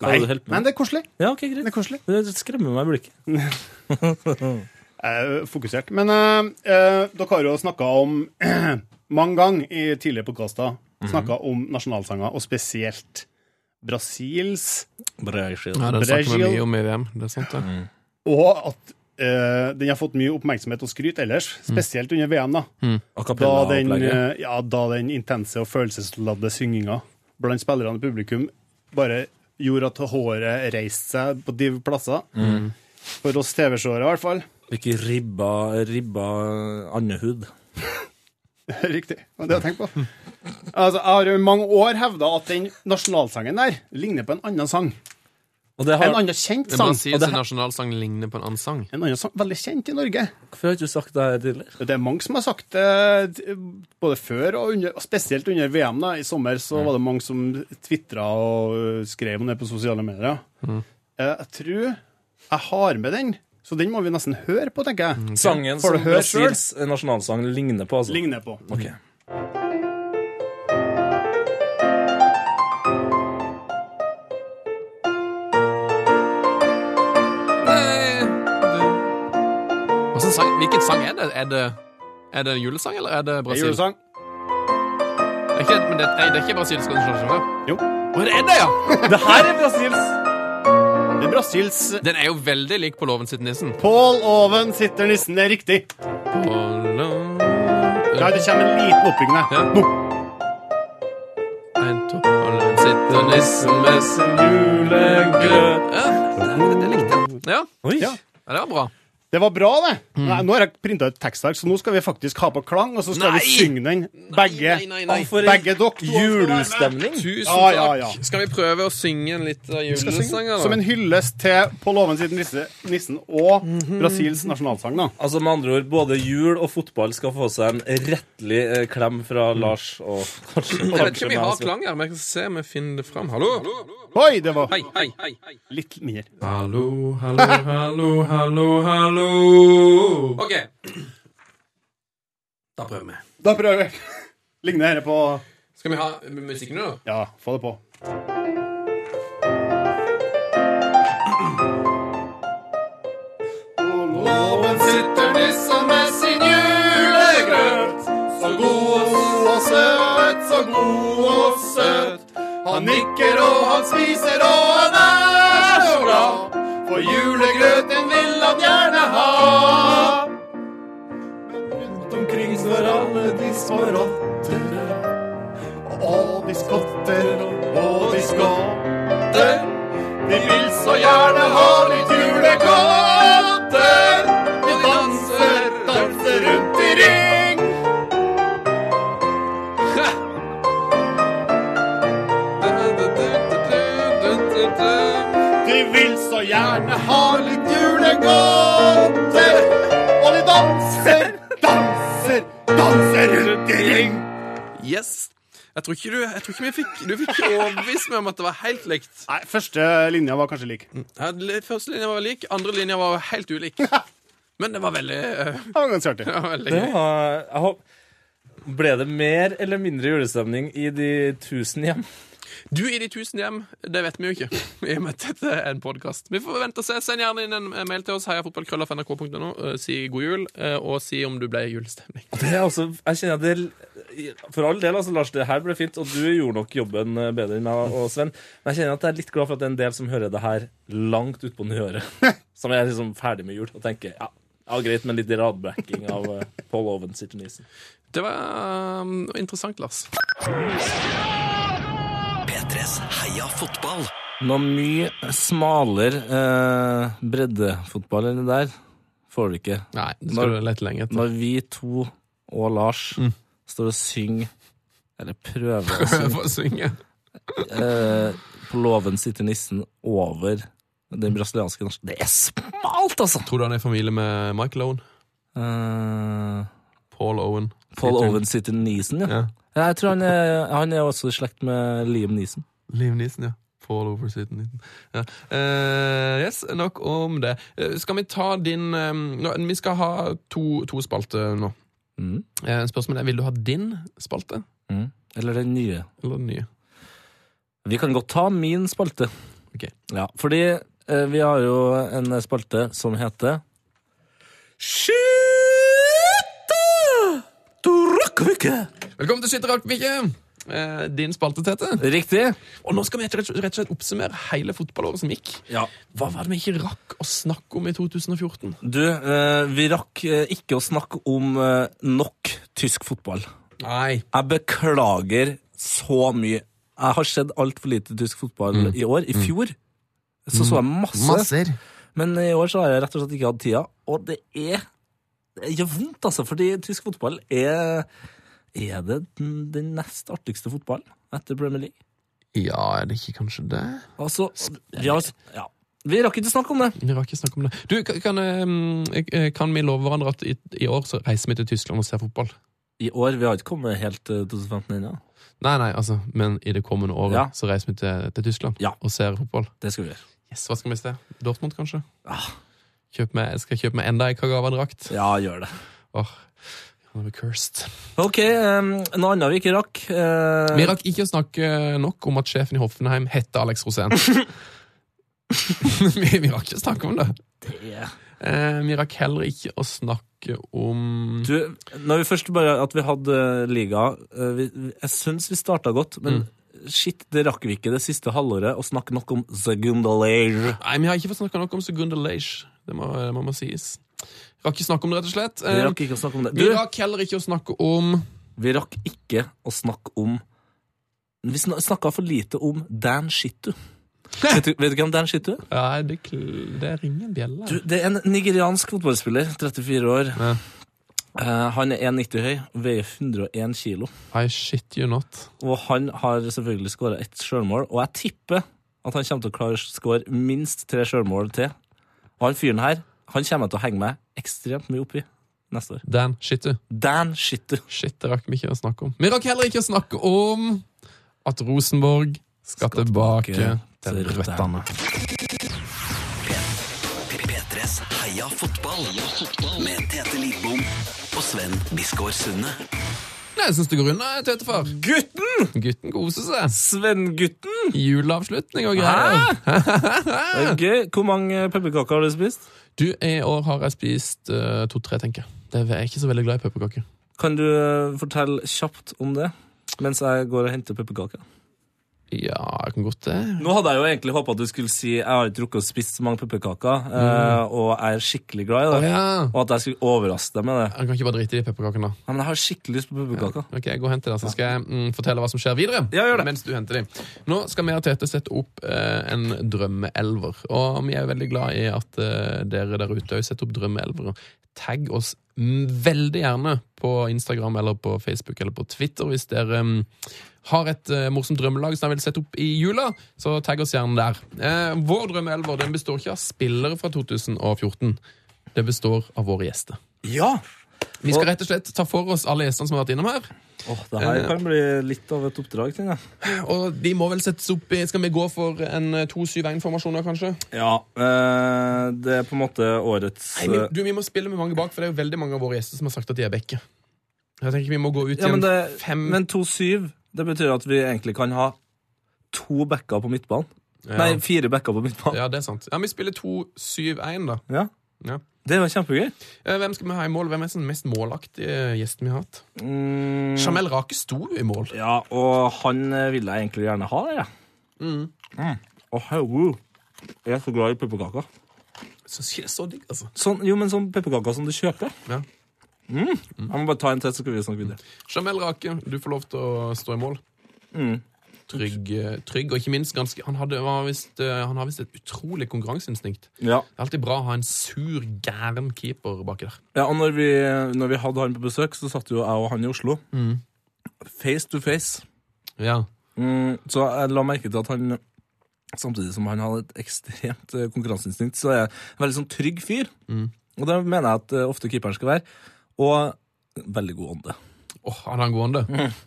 S5: Hva hadde du holdt på
S7: Men
S5: med?
S7: det er koselig.
S5: Ja, ok,
S7: Det er
S5: greit.
S7: koselig.
S5: Det skremmer meg i blikket.
S7: Jeg er fokusert. Men eh, eh, dere har jo snakka om mange ganger i tidligere podkaster
S1: Mhm.
S7: snakka om nasjonalsanger, og spesielt Brasils,
S5: Bra, jeg
S1: Ja,
S5: skjønner.
S1: det snakker vi
S7: Brazil.
S1: mye om i VM. Det er sant, det.
S7: og at eh, den har fått mye oppmerksomhet og skryt ellers,
S1: Mhm.
S7: spesielt under VM, da.
S5: A
S7: Da den,
S5: cappella-opplegget.
S7: eh, ja, da den intense og følelsesladde synginga blant spillerne og publikum bare gjorde at håret reiste seg på de plasser. For oss TV-seere, i hvert fall.
S5: Ikke ribba, ribba eh, andehud.
S7: Riktig. Det var det jeg tenkte på. Altså, jeg har jo i mange år hevda at den nasjonalsangen der ligner på en annen sang.
S5: Og det har,
S7: En annen kjent
S1: Men
S7: sang.
S1: Brasils
S7: Og det her-
S1: nasjonalsang ligner på en annen sang.
S7: En annen sang, Veldig kjent i Norge.
S5: Hvorfor har ikke du sagt det her tidligere?
S7: Det er mange som har sagt det, både før og under, og spesielt under VM. da, I sommer
S1: Mm.
S7: så var det mange som tvitra og øh, skrev om det på sosiale medier.
S1: Mm.
S7: Eh, Jeg tror jeg har med den, så den må vi nesten høre på, tenker jeg.
S1: Mm.
S5: Sangen
S7: Får
S5: som
S7: du høre selv?
S5: Brasils nasjonalsang ligner på, altså.
S7: Ligner på.
S5: Ok.
S7: Eh,
S1: Hva slags sang, hvilken sang er det? Er det, er det en julesang, eller er det
S7: Det er
S1: Brasil?
S7: julesang.
S1: Det er ikke, men det, nei, det er ikke brasilsk nasjonalsang?
S7: Jo.
S1: Å, det er det, ja!
S5: Det her er Brasils!
S7: Det er Brasils
S1: Den er jo veldig lik på Låven sitt nissen.
S7: Pål Oven sitter nissen. Det er riktig. Ja, det kommer en liten oppbygging der.
S1: Ja. En, to, på låven sitter nissen med sin
S5: Julegrøt.
S1: ja, det, det likte jeg. Ja,
S5: Oi.
S7: Ja.
S1: ja, det var bra.
S7: Det var bra, det.
S1: Mm.
S7: Nei, nå har jeg printa ut tekst her, så nå skal vi faktisk ha på klang, og så skal
S1: Nei!
S7: vi synge den, begge.
S1: Nei, nei, nei.
S5: Å, for en
S7: Begge dere to skal være med.
S5: Julestemning.
S1: Tusen
S7: Ja, ja, ja.
S1: takk. Skal vi prøve å synge en eh, liten
S7: skal
S1: julesang?
S7: synge
S1: eller?
S7: som en hyllest til På låven siden nisse, nissen og Brasils nasjonalsang, da.
S5: Altså med andre ord, både jul og fotball skal få seg en rettelig eh, klem fra Lars og kanskje,
S1: Mm. Jeg vet ikke
S5: kanskje
S1: om vi har
S7: altså.
S5: meg.
S1: klang her, men jeg skal se om jeg finner det fram. Hallo?
S7: Oi, det var
S1: Hei, hei, hei. hei.
S7: litt mindre.
S1: Hallo, hallo, hallo, hallo, hallo. OK. Da prøver vi.
S7: Da prøver vi. Ligner dette på
S1: Skal vi ha musikken nå?
S7: Ja, få det på. På låven sitter nissen med sin julegrøt. Så god og søt, så god og søt. Han nikker og han spiser og han er så glad. For julegrøten vil han gjerne ha. Rundt omkring står alle de små rottene. Og de skotter og de skotter. De vil så gjerne ha litt julegodter. De danser, danser rundt i ring. De vil så gjerne ha litt julegodter. Og de danser, danser, danser rundt i ring.
S1: Yes. Jeg tror ikke du, jeg tror ikke vi fikk, du fikk ikke overbevist meg om at det var helt likt.
S7: Nei, første linja var kanskje lik. Det
S1: Ja, l- Første linja var lik, andre linja var helt ulik. Men det var veldig, eh,
S7: var ganske artig.
S1: det var veldig
S5: Det
S1: gøy.
S5: var, jeg håper, ble det mer eller mindre julestemning i de tusen hjem?
S1: Du i de tusen hjem, det vet vi jo ikke, i og med at dette er en podkast. Vi får vente og se. Send gjerne inn en mail til oss, heiafotballkrøllafnrk.no. eh, Si god jul, eh, og si om du ble i julestemning.
S5: Det er også, jeg kjenner at det For all del, altså, Lars, det her ble fint, og du gjorde nok jobben eh, bedre enn meg og Sven. Men jeg kjenner at jeg er litt glad for at det er en del som hører det her langt utpå nyåret. Som er liksom ferdig med jul og tenker ja, ja greit, men litt radbacking av eh, Paul Owen sitter nisen.
S1: Det var um, interessant, Lars.
S4: P3s Heia fotball.
S5: Noe mye smalere eh, breddefotball enn det der får du ikke.
S1: Nei, det
S5: skal
S1: skal
S5: du
S1: du lete lenge etter.
S5: Når vi to og Lars står og synger, eller prøver å synge
S1: Prøv å synge.
S5: eh, På låven sitter nissen over den brasilianske norske Det er smalt, altså!
S1: Tror du han er i familie med Michael Owen?
S5: Eh,
S1: Paul Owen?
S5: Paul Owen sitter Neeson, ja.
S1: Ja.
S5: ja. Jeg tror han er, han er også i slekt med Liam Neeson.
S1: Liam Neeson, ja. Fall over siden 19. Ja. Eh, yes, nok om det. Eh, skal vi ta din eh, nå, Vi skal ha to, to spalter nå.
S5: Mm.
S1: Eh, spørsmålet er, Vil du ha din spalte
S5: Mm. Eller den nye.
S1: eller den nye?
S5: Vi kan godt ta min spalte.
S1: Ok.
S5: Ja, fordi eh, vi har jo en spalte som heter Skyte! Du rakker ikke!
S1: Velkommen til Skytterrakkvikke! Eh, din spalte, Tete.
S5: Riktig.
S1: Og nå skal vi rett rett og slett oppsummere hele fotballåret som gikk.
S5: Ja.
S1: Hva var det vi ikke rakk å snakke om i 2014?
S5: Du, eh, vi rakk eh, ikke å snakke om eh, nok tysk fotball.
S1: Nei.
S5: Jeg beklager så mye. Jeg har sett altfor lite tysk fotball i år. I fjor så så jeg Mm. masse,
S7: Masser.
S5: men i år så har jeg rett og slett ikke hatt tida. Og det er det gjør vondt, altså, fordi tysk fotball er Er det den, den nest artigste fotballen etter Premier League?
S1: Ja, er det ikke kanskje det?
S5: Altså, vi har ja. Vi rakk ikke snakke om det.
S1: Vi rakk ikke snakke om det. Du, kan, kan, eh, kan vi love hverandre at i, i år så reiser vi til Tyskland og ser fotball?
S5: I år, vi har ikke kommet helt til 2015 ennå.
S1: Nei, nei, altså, men i det kommende året
S5: Ja.
S1: så reiser vi til, til Tyskland
S5: Ja.
S1: og ser fotball.
S5: Det skal vi gjøre.
S1: Yes, Hva skal vi se? Dortmund, kanskje?
S5: Ah.
S1: Kjøp meg, skal jeg kjøpe meg enda ei Kagawa-drakt?
S5: Ja, gjør det.
S1: Åh, han er cursed.
S5: Ok, um, noe annet vi ikke rakk. eh,
S1: Vi rakk ikke å snakke nok om at sjefen i Hoffenheim heter Alex Rosén. vi, vi rakk ikke å snakke om det.
S5: det er-
S1: Eh, vi rakk heller ikke å snakke om
S5: Du, når vi først bare at vi hadde liga eh, vi, vi- Jeg syns vi starta godt, men shit, det rakk vi ikke det siste halvåret å snakke nok om Zegundalair.
S1: Nei, vi har ikke fått snakka nok om Segunda Leish. Det må, det må sies. Rakk ikke snakke om det, rett og slett.
S5: Um, Vi
S1: Eh,
S5: rakk ikke å snakke om det.
S1: vi
S5: Du,
S1: rakk heller ikke å snakke om
S5: vi rakk ikke å snakke om Vi snakka for lite om Dan Shittu. Vet du, vet du hvem Dan Shittu er?
S1: Nei, det, kl- det ringer en bjelle.
S5: Du, Det er en nigeriansk fotballspiller, 34 år.
S1: Ja.
S5: Eh, han er 1,90 høy og veier 101 kilo.
S1: I shit you not.
S5: Og han har selvfølgelig skåra ett sjølmål, og jeg tipper at han kommer til å klare å skåre minst tre sjølmål til. Og han fyren her han kommer jeg til å henge meg ekstremt mye oppi neste år.
S1: Dan, shit you.
S5: Dan Shitter.
S1: Shit, det rakk vi ikke å snakke om. Vi rakk heller ikke å snakke om at Rosenborg skal tilbake til røttene.
S4: P3s Heia fotball. Med Tete Lidbom og Sven Biskår Sunde.
S1: Nei, Jeg syns det går unna, Tøtefar.
S5: Gutten!
S1: Gutten koser seg.
S5: Svengutten!
S1: Juleavslutning og greier.
S5: Det er Gøy. Hvor mange pepperkaker har du spist?
S1: Du, i år har jeg spist eh, to-tre, tenker jeg. Det er jeg ikke så veldig glad i pepperkaker.
S5: Kan du eh, fortelle kjapt om det? Mens jeg går og henter pepperkaker.
S1: Ja, jeg kan godt det.
S5: Nå hadde jeg jo egentlig håpa at du skulle si jeg har ikke rukket å spise så mange pepperkaker, eh, og jeg er skikkelig glad i
S1: Å
S5: det.
S1: ja.
S5: Og at jeg skulle overraske deg med det.
S1: Jeg kan ikke bare drite i de pepperkakene, da.
S5: Ja, men jeg har skikkelig lyst på pepperkaker.
S1: Ok, jeg går og henter det, så skal jeg mm, fortelle hva som skjer videre.
S5: Ja, gjør det.
S1: Mens du henter dem. Nå skal vi og Tete sette opp eh, en drømmeelver. Og vi er veldig glad i at eh, dere der ute også setter opp drømmeelvere. Tagg oss mm, veldig gjerne på Instagram eller på Facebook eller på Twitter hvis dere mm, har et eh, morsomt drømmelag som dere vil sette opp i jula. Så tagg oss gjerne der. Eh, vår drømmeelver den består ikke av spillere fra 2014. Det består av våre gjester.
S5: Ja!
S1: Vi skal rett og slett ta for oss alle gjestene som har vært innom her.
S5: Åh, det her kan bli litt av et oppdrag, kjenner jeg.
S1: Og de må vel settes opp i Skal vi gå for en eh, 2-7-1-formasjon da, kanskje?
S5: Ja, eh, det er på en måte årets
S1: Nei, vi, du, vi må spille med mange bak, for det er jo veldig mange av våre gjester som har sagt at de er bekke. Jeg tenker vi må gå ut
S5: ja, men
S1: igjen.
S5: det,
S1: fem
S5: men 2-7, det betyr at vi egentlig kan ha to backer på midtbanen. Nei, fire backer på midtbanen. Ja.
S1: Ja, det er sant. Ja, Vi spiller 2-7-1, da. Ja.
S5: Det var kjempegøy.
S1: Eh, Hvem skal vi ha i mål? Hvem er den mest målaktige gjesten vi har hatt?
S5: Mm,
S1: Jamel Rake sto jo i mål.
S5: ja, og han eh, ville jeg egentlig gjerne ha, jeg. Mm. Og herregud, jeg er så glad i pepperkaker.
S1: Syns ikke det er så digg, altså.
S5: Sånn, jo, men sånn pepperkaker som du kjøper. Mm.
S1: Ja. Mm.
S5: Jeg må bare ta en til, så skal vi snakke videre.
S1: Jamel Rake, du får lov til å stå i mål. Mm. Trygg, eh, trygg, og ikke minst ganske Han, hadde, var visst, eh, han har visst et utrolig konkurranseinstinkt.
S5: Ja.
S1: Det er alltid bra å ha en sur, gæren keeper baki der.
S5: Ja, og når vi, når vi hadde han på besøk, så satt jo jeg og han i Oslo.
S1: Mm.
S5: Face to face.
S1: Ja.
S5: Mm, så jeg la merke til at han, samtidig som han hadde et ekstremt eh, konkurranseinstinkt, så er jeg en veldig sånn trygg fyr. Og det mener jeg at eh, ofte keeperen skal være. Og veldig god ånde.
S1: Åh, han er angående.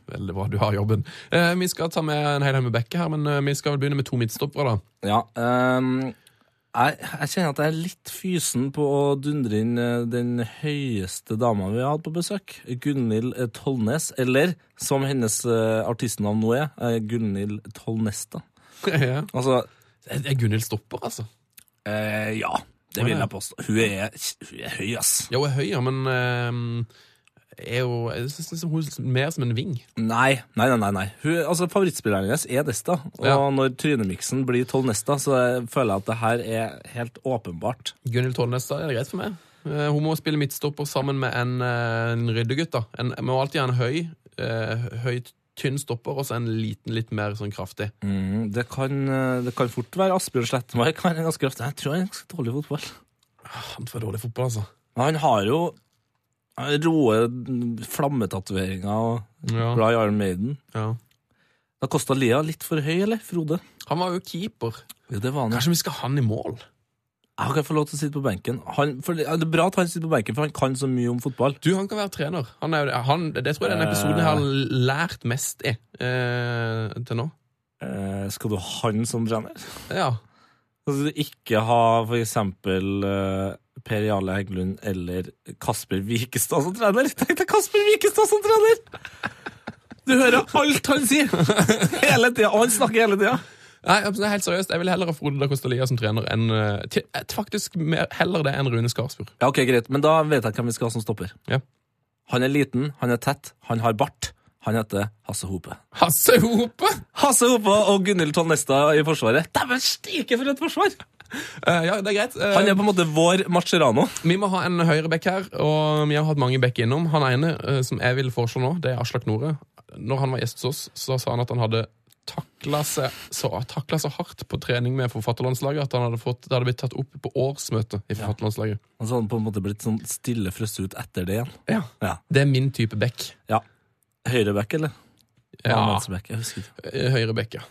S1: Veldig bra, du har jobben. Eh, vi skal ta med en hel haug med backer her, men eh, vi skal vel begynne med to midtstoppere, da.
S5: Ja, ehm, jeg, jeg kjenner at jeg er litt fysen på å dundre inn eh, den høyeste dama vi har hatt på besøk. Gunhild eh, Tollnes, eller som hennes eh, artistnavn nå er, eh, Gunhild Tollnesta.
S1: ja.
S5: Altså,
S1: Er er Gunhild stopper, altså?
S5: eh, ja, det vil jeg påstå. Hun er, hun er høy, ass.
S1: Ja, hun er høy, ja, men eh, er jo, jeg synes liksom hun er mer som en ving.
S5: Nei, nei, nei. nei, nei. Hun, altså, favorittspilleren hennes er Desta, og
S1: Ja.
S5: når trynemiksen blir Tollnesta, så jeg føler jeg at det her er helt åpenbart.
S1: Gunhild Tollnes, da er det greit for meg. Eh, hun må spille midtstopper sammen med en, eh, en ryddegutt. da. En, vi må alltid ha en høy, uh, høy tynn stopper, og så en liten, litt mer sånn kraftig.
S5: Mm, det, kan, eh, det kan fort være Asbjørn Slettemark. Han er ganske kraftig. Jeg tror han er ganske dårlig i fotball.
S1: Ah, Han får dårlig fotball, altså.
S5: Men han har jo han har roe flammetatoveringer og
S1: Ja.
S5: glad i Iron Maiden.
S1: Ja.
S5: Da kosta Lia litt for høy, eller? Frode?
S1: Han var jo keeper.
S5: Jo, det var han.
S1: Kanskje vi skal ha han i mål?
S5: Jeg kan få lov til å sitte på benken. Han, for, det ja, det er bra at han sitter på benken, for han kan så mye om fotball.
S1: Du, han kan være trener. Han er, jo- han, det tror jeg denne episoden jeg har lært mest i eh, til nå.
S5: Eh, skal du ha han som trener?
S1: Ja.
S5: Altså, du ikke ha for eksempel eh, Per Jarle Heggelund eller Kasper Wikestad som trener. Tenk deg Kasper Wikestad som trener! Du hører alt han sier! Hele tida. Og han snakker hele tida.
S1: Nei, altså, helt seriøst, Jeg vil heller ha Frode da Costa Lia som trener enn eh, til, eh, Faktisk mer, heller det enn Rune Skarsfjord.
S5: Ja, ok, greit. Men da vet jeg hvem vi skal ha som stopper.
S1: Ja.
S5: Han er liten, han er tett, han har bart. Han heter Hasse Hope.
S1: Hasse Hope!
S5: Hasse Hope og Gunhild Tollnesta i forsvaret. Dæven stike for et forsvar!
S1: Eh, ja, det er greit. Eh,
S5: Han er på en måte vår Macherano.
S1: Vi må ha en høyrebekk her, og vi har hatt mange bekk innom. Han ene eh, som jeg vil foreslå nå, det er Aslak Nore. Når han var gjest hos oss, så sa han at han hadde takla seg så, taklet så hardt på trening med forfatterlandslaget at han hadde fått, det hadde blitt tatt opp på årsmøtet i forfatterlandslaget.
S5: Og så har han på en måte blitt sånn stille frøst ut etter det igjen.
S1: Ja.
S5: Ja.
S1: Det er min type bekk.
S5: Ja. Høyreback, eller?
S1: Ja, altså,
S5: Venstre-back, jeg husker ikke.
S1: Høyrebekk, ja.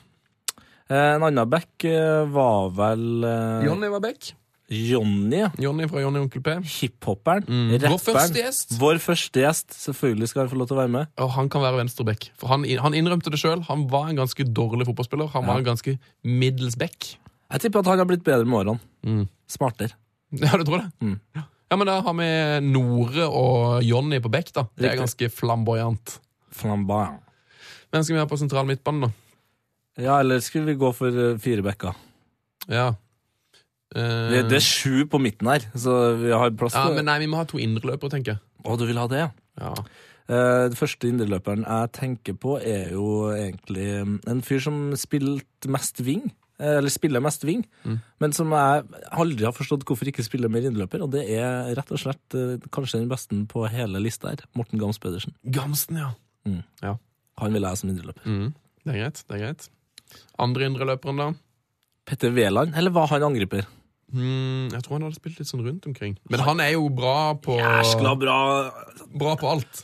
S5: Eh, En annen back eh, var vel eh,
S1: Jonny var bekk.
S5: Jonny. ja.
S1: Jonny fra Jonny og Onkel P.
S5: Hiphopperen.
S1: Mm. Vår
S5: Rapperen.
S1: første gjest.
S5: Vår første gjest. Selvfølgelig skal han få lov til å være med.
S1: Og han kan være venstrebekk. For han, han innrømte det sjøl. Han var en ganske dårlig fotballspiller. Han var en ganske middels bekk.
S5: Jeg tipper at han har blitt bedre med årene.
S1: Mm.
S5: Smartere.
S1: Ja, du tror det?
S5: Mm.
S1: Ja. ja, men da har vi Nore og Jonny på bekk, da. Det er
S5: Riktig.
S1: ganske flamboyant.
S5: Flamboyant.
S1: Hvem skal vi ha på sentral midtbane, da?
S5: Ja, eller skulle vi gå for eh, fire backer?
S1: Ja. Eh,
S5: Det, det er sju på midten her, så vi har plass
S1: ja,
S5: til
S1: men nei, vi må ha to indreløpere, tenker jeg.
S5: Å, du vil ha det, ja?
S1: Ja.
S5: Eh, Den første indreløperen jeg tenker på, er jo egentlig mm, en fyr som spilte mest wing. eh, Eller spiller mest wing, men som jeg aldri har forstått hvorfor ikke spiller mer indreløper. Og det er rett og slett eh, kanskje den beste på hele lista her. Morten Gams Pedersen.
S1: Gamsten, ja.
S5: Han vil jeg ha som indreløper.
S1: Det er greit. det er greit. Andre indreløperen, da?
S5: Petter Wæland, eller var han angriper?
S1: Hmm, jeg tror han hadde spilt litt sånn rundt omkring. Men han er jo bra på
S5: Jæskla bra!
S1: Bra på alt.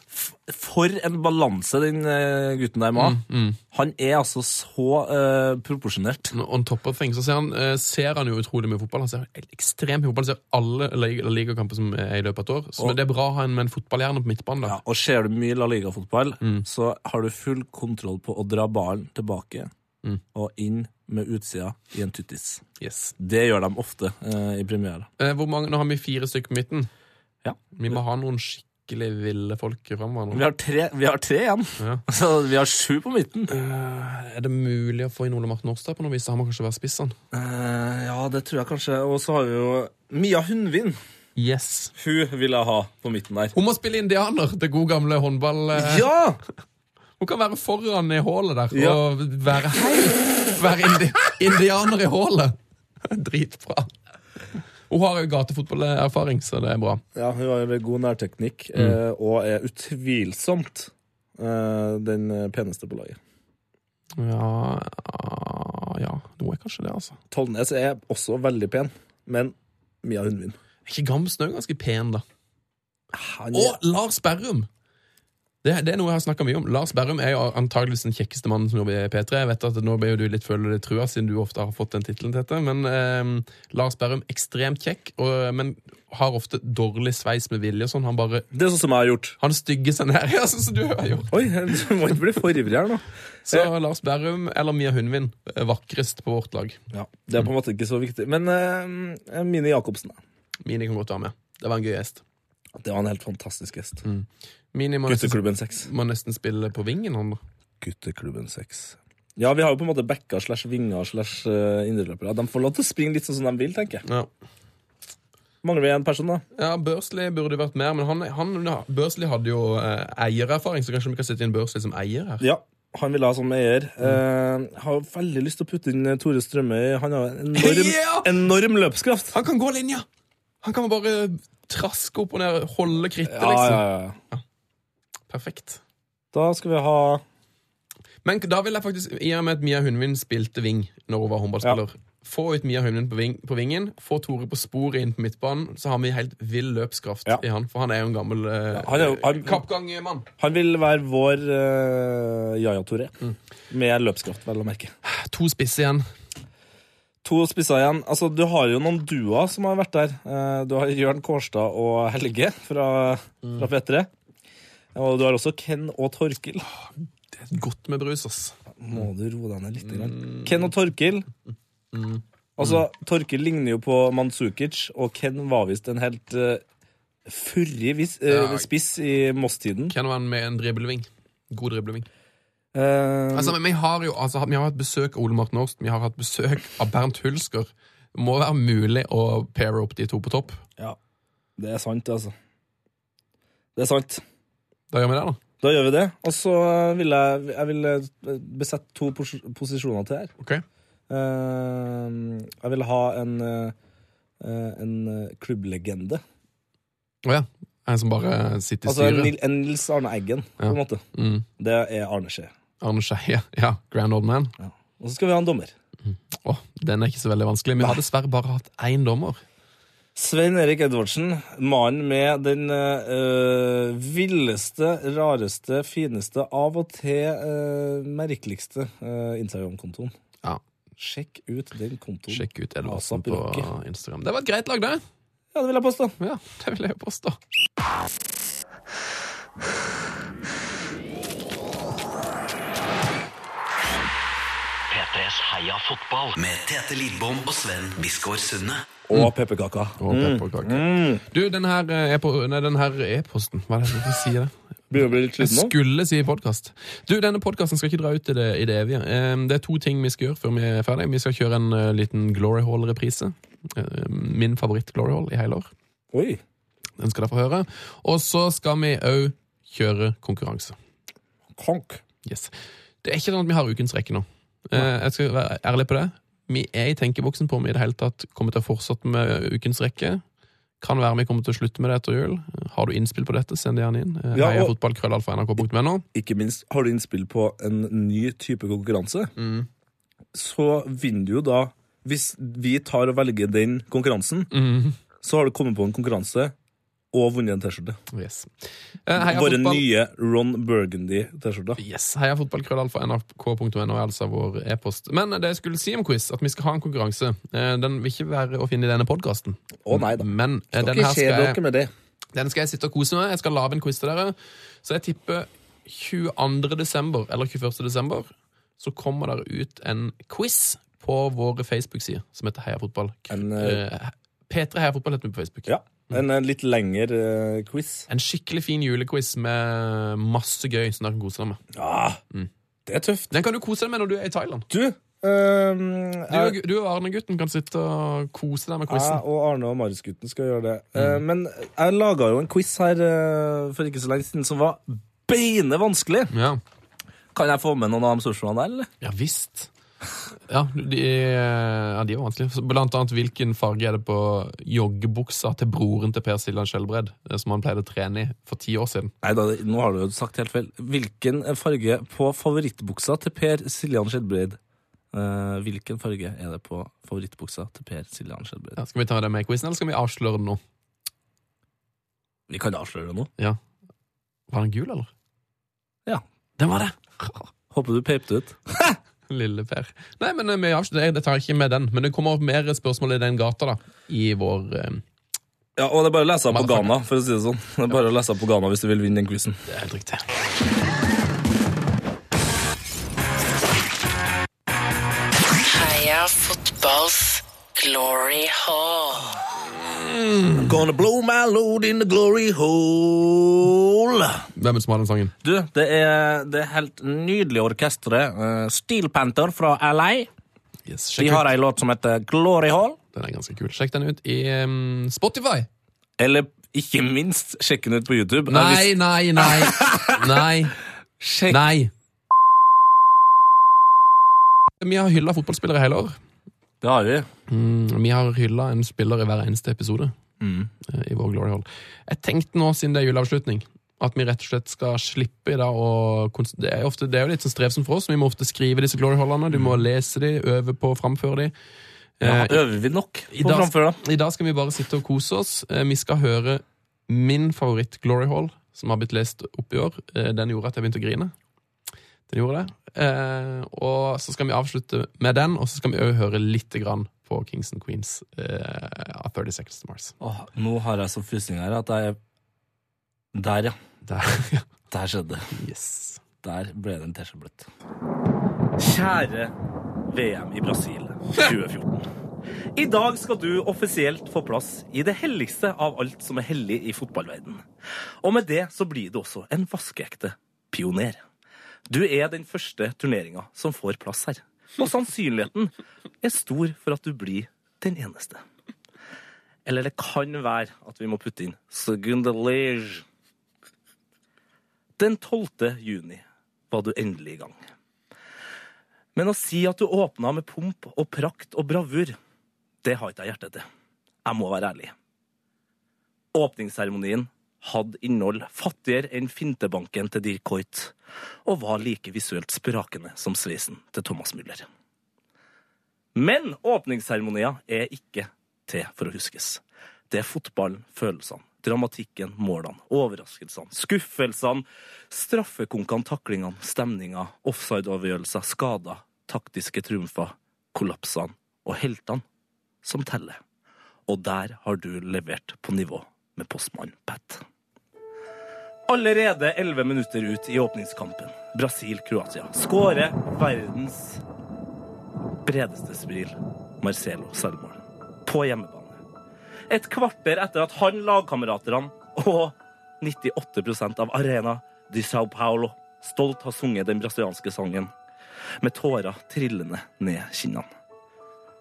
S5: For en balanse den eh, gutten der må ha. Han er altså så eh, proporsjonert.
S1: On top of things. Så ser han, eh, ser han jo utrolig mye fotball. Han ser ekstremt mye fotball. Han ser alle lig- ligakamper som er i løpet av et år. Så
S5: Og-
S1: det er bra å ha en med en fotballhjerne på midtbanen. da.
S5: Ja, og ser du mye La Liga-fotball, så har du full kontroll på å dra ballen tilbake og inn med utsida i en tuttis.
S1: Yes.
S5: Det gjør de ofte eh, i premiere.
S1: Eh, Hvor mange, nå har vi fire stykker på midten.
S5: Ja.
S1: Vi må ha noen skikkelig ville folk framover.
S5: Vi
S1: nå.
S5: har tre, vi har tre igjen,
S1: Ja.
S5: så vi har sju på midten.
S1: Er det mulig å få inn Ole Martin Årstad på noe vis? Han må kanskje være spiss, han.
S5: Eh, ja, det tror jeg kanskje. Og så har vi jo Mia Hundvin.
S1: Yes.
S5: Hun vil jeg ha på midten der.
S1: Hun må spille indianer til god gamle håndball. eh.
S5: Ja!
S1: Hun kan være foran i hålet der
S5: Ja.
S1: og være hei. Være indi indianer i hålet. Dritbra. Hun har jo gatefotballerfaring, så det er bra.
S5: Ja, hun har jo god nærteknikk, eh, og er utvilsomt eh, den peneste på laget.
S1: Ja Ja, hun er kanskje det, altså.
S5: Tollnes er også veldig pen, men Mia Hundvin
S1: Er ikke Gamsen òg ganske pen, da?
S5: Han
S1: Og Lars Berrum! Det, det er noe jeg har snakka mye om. Lars Berrum er jo antageligvis den kjekkeste mannen som jobber i P3. Jeg vet at Nå blir jo du litt føler deg trua, siden du ofte har fått den tittelen til dette. Men eh, Lars Berrum ekstremt kjekk, og, men har ofte dårlig sveis med vilje. og Sånn. Han bare
S5: Det er sånn som jeg har gjort.
S1: han stygger seg ned, ja, sånn som du har gjort.
S5: Oi, du må ikke bli for ivrig her nå.
S1: Så Lars Berrum eller Mia Hundvin er vakrest på vårt lag.
S5: Ja, Det er på en måte ikke så viktig. Men eh, Mine Jacobsen, da.
S1: Mini kan godt være med. Det var en gøy gjest.
S5: Det var en helt fantastisk gjest.
S1: Mini må nesten,
S5: Gutteklubben 6.
S1: må nesten spille på vingen, han da.
S5: Gutteklubben 6. Ja, vi har jo på en måte backa slash vinger slash eh, indreløpere. De får lov til å springe litt sånn som de vil, tenker jeg.
S1: Ja.
S5: Mangler vi en person, da?
S1: Ja, Børsli burde vært mer, men han, han, Børsli hadde jo eh, eiererfaring, så kanskje vi kan sette inn Børsli som eier her.
S5: Ja. Han vil ha som eier. Eh, har veldig lyst til å putte inn eh, Tore Strømøy. Han har en enorm,
S1: Ja!
S5: enorm løpskraft.
S1: Han kan gå linja! Han kan bare traske opp og ned, holde krittet,
S5: Ja,
S1: liksom.
S5: ja, ja.
S1: Perfekt.
S5: Da skal vi ha
S1: Men da vil jeg faktisk, i og med at Mia Hundvin spilte wing når hun var håndballspiller Få ut Mia Hundvin på, ving, på vingen, få Tore på sporet inn på midtbanen, så har vi helt vill løpskraft
S5: Ja.
S1: i han, for han er jo en gammel eh,
S5: han er jo- han-
S1: kappgangmann.
S5: Han vil være vår eh, Yahya Toré.
S1: Mm.
S5: Med løpskraft, vel å merke.
S1: To spisser igjen.
S5: To spisser igjen. Altså, du har jo noen duoer som har vært der. Eh, Du har Jørn Kårstad og Helge fra,
S1: Mm.
S5: fra P3. Og du har også Ken og Torkil.
S1: Godt med brus, ass.
S5: Må du roe deg ned litt?
S1: Mm.
S5: Grann. Ken og Torkil. Altså, Torkil ligner jo på Mansukic, og Ken var visst en helt uh, furrig vis- eh,
S1: Ja.
S5: spiss i Moss-tiden.
S1: Kan være med en dribleving. God dribleving.
S5: Eh,
S1: Altså, men vi har jo altså, vi har hatt besøk av Ole Morten Aarsen, vi har hatt besøk av Bernt Hulsker. Det må være mulig å paire opp de to på topp.
S5: ja. Det er sant, altså. Det er sant.
S1: Da gjør vi det, da.
S5: Da gjør vi det. Og så vil jeg, jeg vil eh, besette to pos posisjoner til her.
S1: Ok?
S5: Eh, jeg vil ha en, eh, eh, en eh, klubblegende.
S1: Å ja. En som bare sitter i
S5: Altså en,
S1: styret.
S5: Nil- en Nils Arne Eggen, på en måte.
S1: Mm.
S5: Det er Arne Skje.
S1: Arne Skeie. Ja. Grand Old Man.
S5: Og så skal vi ha en dommer.
S1: Åh, den er ikke så veldig vanskelig. Vi har dessverre bare hatt én dommer.
S5: Svein Erik Edvardsen, mannen med den eh, villeste, rareste, fineste, av og til eh, merkeligste eh, Instagram-kontoen.
S1: Ja.
S5: Sjekk ut den kontoen.
S1: Sjekk ut Edvardsen
S5: Asap
S1: på
S5: Rocky.
S1: Instagram. Det var et greit lag, det.
S5: Ja, det vil jeg påstå.
S1: Ja, det vil jeg påstå.
S4: P3s Heia fotball med Tete Lidbom og Sven Biskår Sunne.
S1: Mm.
S5: Og pepperkaka.
S1: Og pepperkake.
S5: Mm.
S1: Du, den her eh, epo- nei, den her e-posten Hva er det som sier det?
S5: Begynner å bli litt sliten nå?
S1: Jeg skulle si podkast. Du, denne podkasten skal ikke dra ut i det, i det evige. Ehm, Det er to ting vi skal gjøre før vi er ferdig. Vi skal kjøre en eh, liten Glory Hall-reprise. Ehm, Min favoritt-Glory Hall i hele år.
S5: Oi.
S1: Den skal dere få høre. Og så skal vi òg kjøre konkurranse.
S5: Konk.
S1: Yes. Det er ikke sånn at vi har ukens rekke nå. Eh, Jeg skal være ærlig på det. Vi er i tenkeboksen på om vi i det hele tatt kommer til å fortsette med ukens rekke. Kan være vi kommer til å slutte med det etter jul. Har du innspill på dette, send det gjerne inn. Eh,
S5: Ja, og-
S1: Heiafotballkrøllalfa.nrk.no.
S5: Ikke minst har du innspill på en ny type konkurranse. Så vinner du jo da Hvis vi tar og velger den konkurransen, så har du kommet på en konkurranse og vunnet en T-skjorte.
S1: Yes. Eh, Heia
S5: Våre
S1: fotball-
S5: nye Ron Burgundy-T-skjorter.
S1: Yes, Heia fotballkrøllalfa nrk.no er altså vår e-post. Men det jeg skulle si om quiz, at vi skal ha en konkurranse. Eh, Den vil ikke være å finne i denne podkasten.
S5: Å, nei da.
S1: Men eh,
S5: Skal
S1: den,
S5: ikke
S1: her
S5: skje
S1: skal
S5: dere
S1: jeg,
S5: med det.
S1: den skal jeg sitte og kose med. Jeg skal lage en quiz til dere. Så jeg tipper 22. desember eller 21. desember så kommer dere ut en quiz på våre Facebook-sider som heter Heia fotball.
S5: En, eh,
S1: Eh, P3 Heia fotball heter vi på Facebook.
S5: ja, en eh, litt lengre eh, quiz.
S1: En skikkelig fin julequiz med masse gøy som dere kan kose dere med.
S5: Ja, det er tøft.
S1: Den kan du kose deg med når du er i Thailand.
S5: Du, ehm,
S1: Du,
S5: jeg-
S1: og- du og Arne-gutten kan sitte og kose deg med
S5: Jeg
S1: quizen.
S5: og Arne og Marius-gutten skal gjøre det. Eh, men jeg laga jo en quiz her eh, for ikke så lenge siden som var beine vanskelig.
S1: Ja.
S5: Kan jeg få med noen av de spørsmålene der, eller?
S1: ja visst. Ja, de, ja, de var vanskelige. Så Blant annet hvilken farge er det på joggebuksa til broren til Per Siljan Skjelbred, eh, som han pleide å trene i for ti år siden?
S5: Nei, da, nå har du jo sagt helt feil. Hvilken farge på favorittbuksa til Per Siljan Skjedbreid? Eh, hvilken farge er det på favorittbuksa til Per Siljan Skjedbreid?
S1: Ja, skal vi ta det med i quizen, eller skal vi avsløre det nå?
S5: Vi kan avsløre det nå.
S1: Var den gul, eller?
S5: Ja.
S1: Det var det.
S5: Håper du peipte ut.
S1: Lille Per. Nei, men eh, vi avslutter det. Jeg tar ikke med den. Men det kommer mer spørsmål i den gata, da. I vår eh,
S5: Ja, og det er bare å lese opp på
S1: Motherfucker.
S5: Ghana, for å si det sånn. Det er bare å lese opp på Ghana hvis du vil vinne den quizen.
S1: Det er helt riktig.
S6: Heia fotballs glory hall.
S5: Gonna blow my load in the glory hole.
S1: Hvem er det som har den sangen?
S5: Du, det er det er helt nydelige orkesteret eh, Steel Panther fra LA.
S1: Yes,
S5: De
S1: sjekk
S5: har
S1: ut.
S5: ei låt som heter Glory Hall.
S1: Den er ganske kul. Sjekk den ut i eh, Spotify.
S5: Eller ikke minst, sjekk den ut på YouTube.
S1: Nei, nei, nei. Nei.
S5: Sjekk.
S1: nei. Vi har hylla fotballspillere i hele år.
S5: Det har vi.
S1: Mm, vi har hylla en spiller i hver eneste episode eh, i vår Glory Hall. Jeg tenkte nå, siden det er juleavslutning, at vi rett og slett skal slippe i dag å kons- det er, jo ofte, det er jo litt sånn strevsomt for oss, vi må ofte skrive disse Glory Hallene. Du må lese de, øve på å framføre de.
S5: Ja,
S1: Eh,
S5: øver vi nok
S1: i,
S5: på
S1: dag,
S5: framføra?
S1: I dag skal vi bare sitte og kose oss. Eh, vi skal høre min favoritt Glory Hall, som har blitt lest opp i år. Eh, den gjorde at jeg begynte å grine. Den gjorde det. Eh, og så skal vi avslutte med den, og så skal vi òg høre litt grann på Kings and Queens eh, av 30 Seconds to Mars.
S5: Åh, nå har jeg så frysning her at jeg Der, ja.
S1: Der, ja.
S5: Der skjedde det.
S1: Yes.
S5: Der ble det en tesjebløtt. Kjære VM i Brasil 2014. I dag skal du offisielt få plass i det helligste av alt som er hellig i fotballverden. Og med det så blir du også en vaskeekte pioner. Du er den første turneringa som får plass her. Og sannsynligheten er stor for at du blir den eneste. Eller det kan være at vi må putte inn Segundelege. Den 12. juni var du endelig i gang. Men å si at du åpna med pomp og prakt og bravur, det har ikke jeg hjerte til. Jeg må være ærlig. Åpningsseremonien hadde innhold fattigere enn fintebanken til Dirk Hoit, og var like visuelt sprakende som sveisen til Thomas Müller. Men åpningsseremonier er ikke til for å huskes. Det er fotballen, følelsene, dramatikken, målene, overraskelsene, skuffelsene, straffekonkene, taklingene, stemninga, offside-avgjørelser, skader, taktiske triumfer, kollapsene og heltene som teller. Og der har du levert på nivå med postmann Pat. Allerede elleve minutter ut i åpningskampen, Brasil-Kroatia, skårer verdens bredeste smil, Marcelo selvmål. På hjemmebane. Et kvarter etter at han, lagkameratene og 98 av Arena de Sao Paulo stolt har sunget den brasilianske sangen, med tårer trillende ned kinnene.